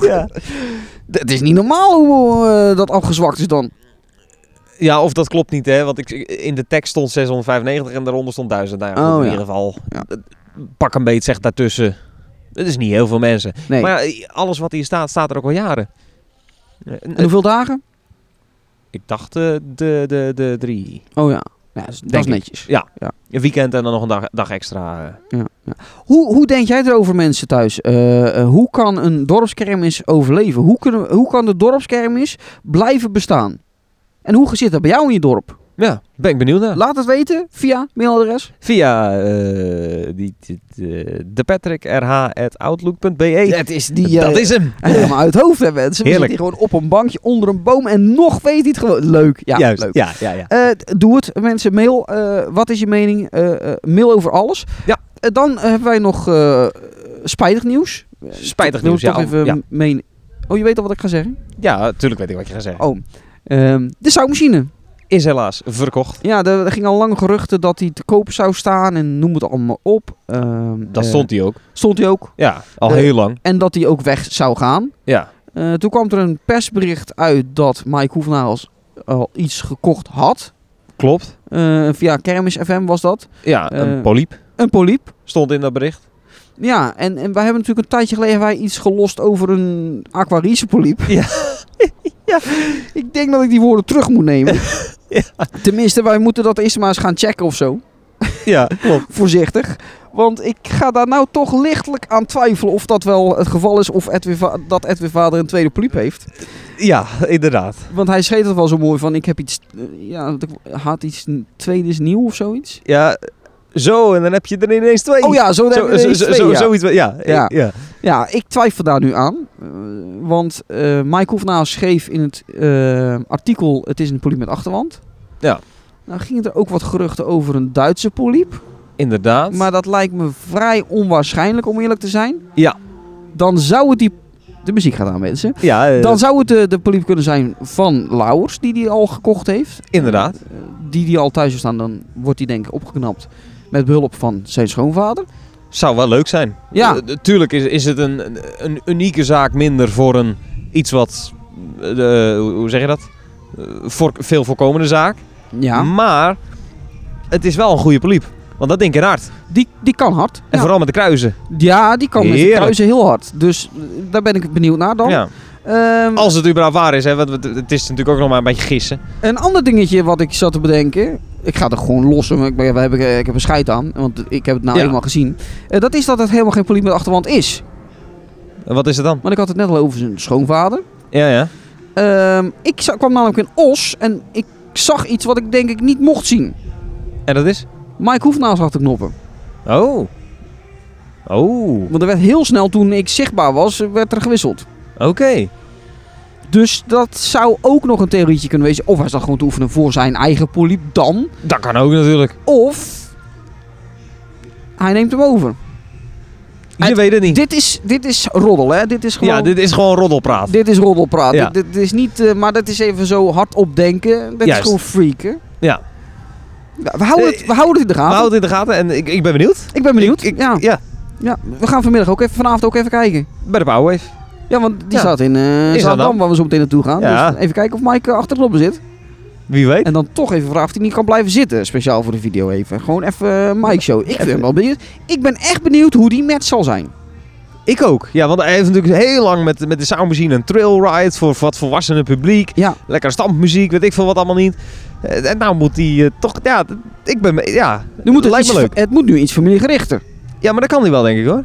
Speaker 4: ja. Het is niet normaal hoe eh, dat afgezwakt is dan.
Speaker 3: Ja, of dat klopt niet, hè? Want ik, in de tekst stond 695 en daaronder stond 1000. Nou, ja, goed,
Speaker 4: Oh,
Speaker 3: in
Speaker 4: ja.
Speaker 3: ieder geval.
Speaker 4: Ja.
Speaker 3: Pak een beet, zeg daartussen. Het is niet heel veel mensen.
Speaker 4: Nee.
Speaker 3: Maar ja, alles wat hier staat, staat er ook al jaren. Eh,
Speaker 4: en hoeveel dagen?
Speaker 3: Ik dacht eh, de, de, de drie.
Speaker 4: Oh ja. ja dat is- dat
Speaker 3: Denk
Speaker 4: is
Speaker 3: ik.
Speaker 4: netjes.
Speaker 3: Een weekend en dan nog een dag, dag extra. eh.
Speaker 4: Ja, ja. Hoe, hoe denk jij erover mensen thuis? Eh, eh, hoe kan een dorpskermis overleven? Hoe, kunnen, hoe kan de dorpskermis blijven bestaan? En hoe zit dat bij jou in je dorp?
Speaker 3: Ja, ben ik benieuwd naar.
Speaker 4: Laat het weten via mailadres.
Speaker 3: Via eh die, die, de, de Patrick RH at outlook.be.
Speaker 4: Dat is die...
Speaker 3: dat is hem.
Speaker 4: Helemaal uit het hoofd hebben mensen. We
Speaker 3: Heerlijk.
Speaker 4: zitten hier gewoon op een bankje onder een boom en nog weet hij het gewoon. Leuk. Ja,
Speaker 3: Juist.
Speaker 4: leuk.
Speaker 3: Ja, ja, ja.
Speaker 4: Eh, d- doe het, mensen. Mail. eh, wat is je mening? Eh, eh, mail over alles.
Speaker 3: Ja.
Speaker 4: Eh, dan hebben wij nog eh, spijtig nieuws.
Speaker 3: Spijtig
Speaker 4: Wil
Speaker 3: nieuws,
Speaker 4: ik
Speaker 3: ja.
Speaker 4: toch even
Speaker 3: ja.
Speaker 4: meen- Oh, je weet al wat ik ga zeggen?
Speaker 3: Ja, tuurlijk weet ik wat je gaat zeggen.
Speaker 4: Oh. Ehm, de zoutmachine.
Speaker 3: Is helaas verkocht.
Speaker 4: Ja, er, er gingen al lang geruchten dat hij te koop zou staan en noem het allemaal op. Ehm,
Speaker 3: Dat
Speaker 4: eh,
Speaker 3: stond hij ook.
Speaker 4: stond hij ook.
Speaker 3: Ja, al
Speaker 4: eh,
Speaker 3: heel lang.
Speaker 4: En dat hij ook weg zou gaan.
Speaker 3: Ja.
Speaker 4: Eh, toen kwam er een persbericht uit dat Mike Hoevenhaals al iets gekocht had.
Speaker 3: Klopt.
Speaker 4: Eh, via Kermis FM was dat.
Speaker 3: Ja, een
Speaker 4: Eh,
Speaker 3: poliep
Speaker 4: Een polyp.
Speaker 3: stond in dat bericht.
Speaker 4: Ja, en, en wij hebben natuurlijk een tijdje geleden wij iets gelost over een aquarische polyp.
Speaker 3: Ja.
Speaker 4: ja, ik denk dat ik die woorden terug moet nemen.
Speaker 3: Ja.
Speaker 4: Tenminste, wij moeten dat eerst maar eens gaan checken of zo.
Speaker 3: Ja, klopt.
Speaker 4: Voorzichtig. Want ik ga daar nou toch lichtelijk aan twijfelen of dat wel het geval is of Edwin Va- dat Edwin Vader een tweede polyp heeft.
Speaker 3: Ja, inderdaad.
Speaker 4: Want hij schreef het wel zo mooi van ik heb iets, eh, ja, dat ik had iets tweedes nieuw of zoiets.
Speaker 3: Ja, zo, en dan heb je er ineens twee.
Speaker 4: Oh ja, zo,
Speaker 3: zo,
Speaker 4: heb je
Speaker 3: zo,
Speaker 4: er
Speaker 3: zo-
Speaker 4: twee,
Speaker 3: zo-
Speaker 4: ja.
Speaker 3: zoiets. wel- Ja, ja.
Speaker 4: Ja.
Speaker 3: ja.
Speaker 4: Ja, ik twijfel daar nu aan. eh, want eh Mike Hoefnaal schreef in het eh, artikel... Het is een polyp met achterwand.
Speaker 3: Ja.
Speaker 4: Nou gingen er ook wat geruchten over een Duitse polyp.
Speaker 3: Inderdaad.
Speaker 4: Maar dat lijkt me vrij onwaarschijnlijk, om eerlijk te zijn.
Speaker 3: Ja.
Speaker 4: Dan zou het die... De muziek gaat aan, mensen.
Speaker 3: ja, eh,
Speaker 4: Dan zou het de, de polyp kunnen zijn van Lauwers, die hij al gekocht heeft.
Speaker 3: Inderdaad.
Speaker 4: Eh, die die al thuis heeft staan, dan wordt die denk ik opgeknapt. Met behulp van zijn schoonvader.
Speaker 3: zou wel leuk zijn.
Speaker 4: Ja.
Speaker 3: Eh, tuurlijk is, is het een, een unieke zaak minder voor een iets wat... eh, eh, hoe hoe zeg je dat? Eh, voor, veel voorkomende zaak.
Speaker 4: Ja.
Speaker 3: Maar het is wel een goede poliep. Want dat ding in hard. En
Speaker 4: Die, die kan hard. Ja,
Speaker 3: vooral met de kruisen.
Speaker 4: Ja, die kan met de
Speaker 3: Heerlijk.
Speaker 4: kruisen heel hard. Dus eh, daar ben ik benieuwd naar dan.
Speaker 3: Ja.
Speaker 4: Ehm,
Speaker 3: Als het überhaupt waar is, hè, want het het is natuurlijk ook nog maar een beetje gissen.
Speaker 4: Een ander dingetje wat ik zat te bedenken. Ik ga er gewoon los om. Ik, ben- we hebben, ik heb een scheid aan, want ik heb het nou
Speaker 3: Ja.
Speaker 4: helemaal gezien. Eh, dat is dat het helemaal geen politie met achterwand is.
Speaker 3: En Wat is het dan?
Speaker 4: Want ik had het net al over zijn schoonvader.
Speaker 3: Ja, ja.
Speaker 4: Ehm, ik za- kwam namelijk in Os en ik zag iets wat ik denk ik niet mocht zien.
Speaker 3: En dat is?
Speaker 4: Mike Hoefnaas achter knoppen.
Speaker 3: Oh. Oh.
Speaker 4: Want er werd heel snel toen ik zichtbaar was, werd er gewisseld.
Speaker 3: Oké.
Speaker 4: Dus dat zou ook nog een theorietje kunnen wezen. Of hij zat gewoon te oefenen voor zijn eigen poliep dan.
Speaker 3: Dat kan ook natuurlijk.
Speaker 4: Of hij neemt hem over.
Speaker 3: Je
Speaker 4: Het-
Speaker 3: weet het niet.
Speaker 4: Dit is, dit is roddel, hè? Dit is gewoon.
Speaker 3: ja, dit is gewoon roddelpraat.
Speaker 4: Dit is roddelpraat.
Speaker 3: Ja.
Speaker 4: Dit, dit is niet, eh, maar dat is even zo hardop denken. Dat
Speaker 3: Juist.
Speaker 4: is gewoon freaken.
Speaker 3: Ja. Eh,
Speaker 4: Ja, We houden, het, we houden het in de
Speaker 3: We
Speaker 4: gaten.
Speaker 3: houden het in de gaten en ik, ik ben benieuwd.
Speaker 4: Ik ben benieuwd.
Speaker 3: Ik-
Speaker 4: ja.
Speaker 3: Ja,
Speaker 4: Ja. We gaan vanmiddag ook even, vanavond ook even kijken.
Speaker 3: bij de Powerwave.
Speaker 4: Ja, want die
Speaker 3: Ja.
Speaker 4: staat in eh Zaandam,
Speaker 3: Zaandam.
Speaker 4: waar we zo meteen naartoe gaan.
Speaker 3: Ja.
Speaker 4: Dus even kijken of Mike eh, achter de knoppen zit.
Speaker 3: Wie weet.
Speaker 4: En dan toch even vragen of hij niet kan blijven zitten. Speciaal voor de video even. Gewoon even eh, Mike show. Ik ben wel benieuwd. Ik ben echt benieuwd hoe die match zal zijn.
Speaker 3: Ik ook. Ja, want hij heeft natuurlijk heel lang met, met de soundmachine een trail ride voor wat volwassenen publiek.
Speaker 4: Ja.
Speaker 3: Lekkere stampmuziek, weet ik veel wat allemaal niet. Eh, En nou moet hij eh, toch... Ja, d- ik ben... me- Ja,
Speaker 4: Nu moet het,
Speaker 3: lijkt
Speaker 4: iets,
Speaker 3: me leuk.
Speaker 4: het moet nu iets familiegerichter.
Speaker 3: Ja, maar dat kan hij wel, denk ik hoor.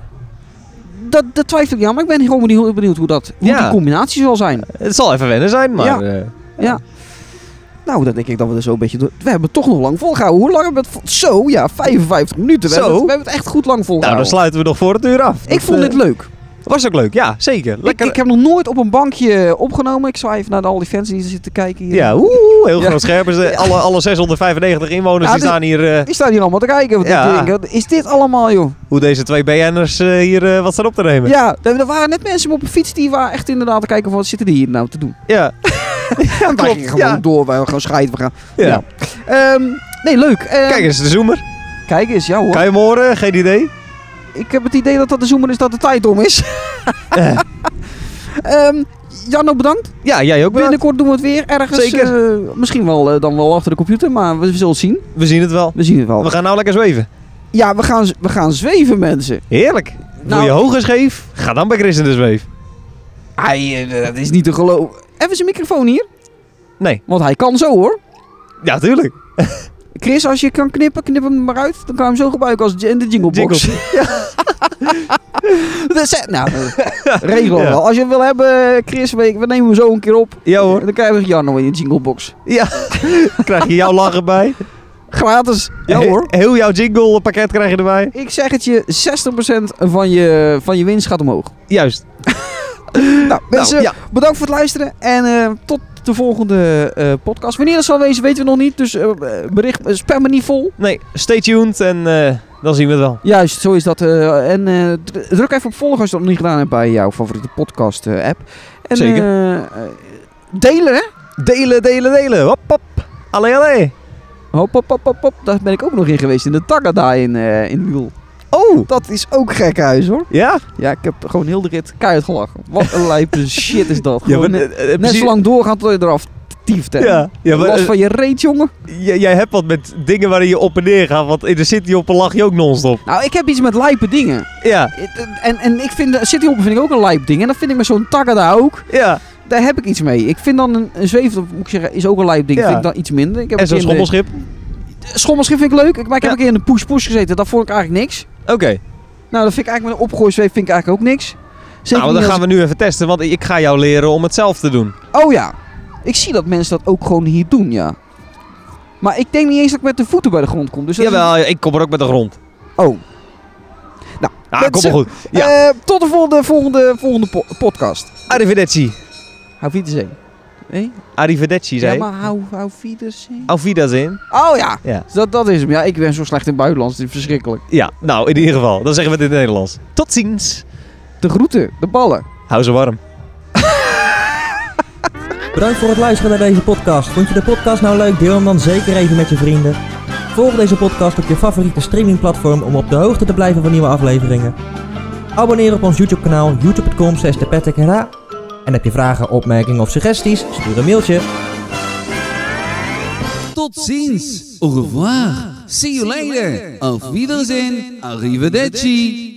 Speaker 4: Dat, dat twijfel ik niet aan, maar ik ben gewoon benieuwd, benieuwd hoe, dat, hoe
Speaker 3: Ja.
Speaker 4: die combinatie zal zijn.
Speaker 3: Het zal even wennen zijn, maar...
Speaker 4: Ja.
Speaker 3: eh,
Speaker 4: Nou, dan denk ik dat we er zo een beetje door... We hebben toch nog lang volgehouden. Hoe lang hebben we het... vol- Zo, ja, 55 minuten. We,
Speaker 3: Zo.
Speaker 4: Hebben, het, we hebben het echt goed lang
Speaker 3: nou, dan eh,
Speaker 4: volgehouden.
Speaker 3: sluiten we nog voor het uur af.
Speaker 4: ik vond dit
Speaker 3: het
Speaker 4: leuk.
Speaker 3: Was ook leuk, ja, zeker.
Speaker 4: Ik,
Speaker 3: Lekker...
Speaker 4: ik heb nog nooit op een bankje opgenomen. Ik zwaai even naar de- al die fans die zitten kijken hier.
Speaker 3: Ja, oeh, heel
Speaker 4: Ja.
Speaker 3: groot scherp. is, eh, Alle, alle 695 inwoners
Speaker 4: Ja,
Speaker 3: die
Speaker 4: dit-
Speaker 3: staan hier... eh,
Speaker 4: Die staan hier allemaal te kijken. Want
Speaker 3: Ja.
Speaker 4: ik denk, wat is dit allemaal, joh?
Speaker 3: hoe deze twee BN'ers eh, hier eh, wat staan op te nemen.
Speaker 4: Ja, er er waren net mensen op een fiets die waren echt inderdaad te kijken van... Wat zitten die hier nou te doen?
Speaker 3: Ja.
Speaker 4: Ja, wij
Speaker 3: klopt,
Speaker 4: gingen gewoon
Speaker 3: ja.
Speaker 4: door. Wij gaan scheiden. We gaan...
Speaker 3: Ja.
Speaker 4: Ja. Ehm, nee, leuk. Ehm,
Speaker 3: Kijk eens, de zoomer.
Speaker 4: Kijk eens, ja hoor.
Speaker 3: Kan je hem horen? Geen idee.
Speaker 4: Ik heb het idee dat dat de zoomer is dat de tijd om is. Eh. Ehm Janno, bedankt.
Speaker 3: Ja, jij ook wel.
Speaker 4: Binnenkort doen we het weer ergens.
Speaker 3: Zeker.
Speaker 4: eh, misschien wel eh, dan wel achter de computer, maar we zullen het zien.
Speaker 3: We zien het wel.
Speaker 4: We zien het wel.
Speaker 3: We gaan nou lekker zweven.
Speaker 4: Ja, we gaan, z- we gaan zweven, mensen.
Speaker 3: Heerlijk. Wil
Speaker 4: Nou-
Speaker 3: je hoger scheef? Ga dan bij Chris in de zweef.
Speaker 4: Ai, eh, dat is niet te geloven. Even zijn microfoon hier.
Speaker 3: Nee.
Speaker 4: Want hij kan zo hoor.
Speaker 3: Ja, tuurlijk.
Speaker 4: Chris, als je kan knippen, knip hem er maar uit. Dan kan je hem zo gebruiken als j- in de jinglebox.
Speaker 3: Jingles.
Speaker 4: Dat is- nou, eh, regel
Speaker 3: Ja.
Speaker 4: wel. Als je hem wil hebben, eh, Chris, we, we nemen hem zo een keer op.
Speaker 3: Ja hoor.
Speaker 4: Dan krijgen we Janno in de jinglebox.
Speaker 3: Ja. krijg je jouw lachen bij.
Speaker 4: Gratis. Ja
Speaker 3: He-
Speaker 4: hoor.
Speaker 3: Heel jouw jingle pakket krijg je erbij.
Speaker 4: Ik zeg het je, 60% van je, van je winst gaat omhoog.
Speaker 3: Juist.
Speaker 4: Nou, mensen,
Speaker 3: ja.
Speaker 4: bedankt voor het luisteren. En eh, tot de volgende eh, podcast. Wanneer dat zal wezen, weten we nog niet. Dus eh, bericht, eh, spam me niet vol.
Speaker 3: Nee, stay tuned en eh, dan zien we het wel.
Speaker 4: Juist, zo is dat. eh, en eh, dr- druk even op volgen als je dat nog niet gedaan hebt bij jouw favoriete podcast eh, app. En,
Speaker 3: Zeker.
Speaker 4: eh, eh, delen, hè?
Speaker 3: Delen, delen, delen. Hop, hop. Allee, allee.
Speaker 4: Hop, hop, hop, hop, hop. Daar ben ik ook nog in geweest. In de Tagada in, eh in Lul.
Speaker 3: Oh.
Speaker 4: Dat is ook gek huis, hoor.
Speaker 3: Ja?
Speaker 4: Ja, ik heb gewoon heel de rit keihard gelachen. Wat een lijpe shit is dat. Gewoon, eh,
Speaker 3: eh, eh,
Speaker 4: Net
Speaker 3: precies-
Speaker 4: zo lang doorgaan tot je eraf tieft hebt.
Speaker 3: Ja, ja maar,
Speaker 4: Last
Speaker 3: eh,
Speaker 4: van je reet, jongen.
Speaker 3: j- jij hebt wat met dingen waarin je op en neer gaat, want in de city op lach je ook non-stop.
Speaker 4: Nou, ik heb iets met lijpe dingen.
Speaker 3: Ja,
Speaker 4: eh, En, en ik vind, City Hopper vind ik ook een lijp ding. En dat vind ik met zo'n Tagada ook.
Speaker 3: ja.
Speaker 4: Daar heb ik iets mee. Ik vind dan een, een zweef, dat moet ik zeggen, is ook een lijp ding.
Speaker 3: Ja.
Speaker 4: Vind ik dan iets minder. Ik heb
Speaker 3: En zo'n
Speaker 4: een keer in de-
Speaker 3: schommelschip.
Speaker 4: Schommelschip vind ik leuk. Ik- Maar ik heb
Speaker 3: Ja.
Speaker 4: een keer in de push-push gezeten. Dat vond ik eigenlijk niks.
Speaker 3: Oké.
Speaker 4: Nou, dat vind ik eigenlijk met een opgooizweef vind ik eigenlijk ook niks. Zeker
Speaker 3: Nou,
Speaker 4: niet
Speaker 3: dan
Speaker 4: als
Speaker 3: gaan we nu even testen, want ik ga jou leren om het zelf te doen.
Speaker 4: ik- Oh ja. Ik zie dat mensen dat ook gewoon hier doen, ja. Maar ik denk niet eens dat ik met de voeten bij de grond kom. Dus dat is-
Speaker 3: Jawel, ik kom er ook met de grond. Nou,
Speaker 4: Oh.
Speaker 3: Ah,
Speaker 4: Mensen,
Speaker 3: kom maar goed. Ja.
Speaker 4: Eh, tot de volgende, volgende, volgende po- podcast.
Speaker 3: Eh, Arrivederci.
Speaker 4: Hou Wiedersehen. Nee?
Speaker 3: Arrivederci, zei
Speaker 4: Ja,
Speaker 3: ik.
Speaker 4: maar hou, hou Wiedersehen.
Speaker 3: Auf Wiedersehen.
Speaker 4: Oh ja.
Speaker 3: Ja.
Speaker 4: Dat, dat is hem. Ja, ik ben zo slecht in het buitenlands. Dit is verschrikkelijk.
Speaker 3: Ja, nou, in ieder geval. Dan zeggen we het in het Nederlands. Tot ziens.
Speaker 4: De groeten, de ballen.
Speaker 3: Hou ze warm.
Speaker 2: Bedankt voor het luisteren naar deze podcast. Vond je de podcast nou leuk? Deel hem dan zeker even met je vrienden. Volg deze podcast op je favoriete streamingplatform om op de hoogte te blijven van nieuwe afleveringen. Abonneer op ons YouTube kanaal youtube.com slash de Patrick en Ra. En heb je vragen, opmerkingen of suggesties? Stuur een mailtje.
Speaker 5: Tot ziens. Au revoir. See you later. Auf Wiedersehen. Arrivederci.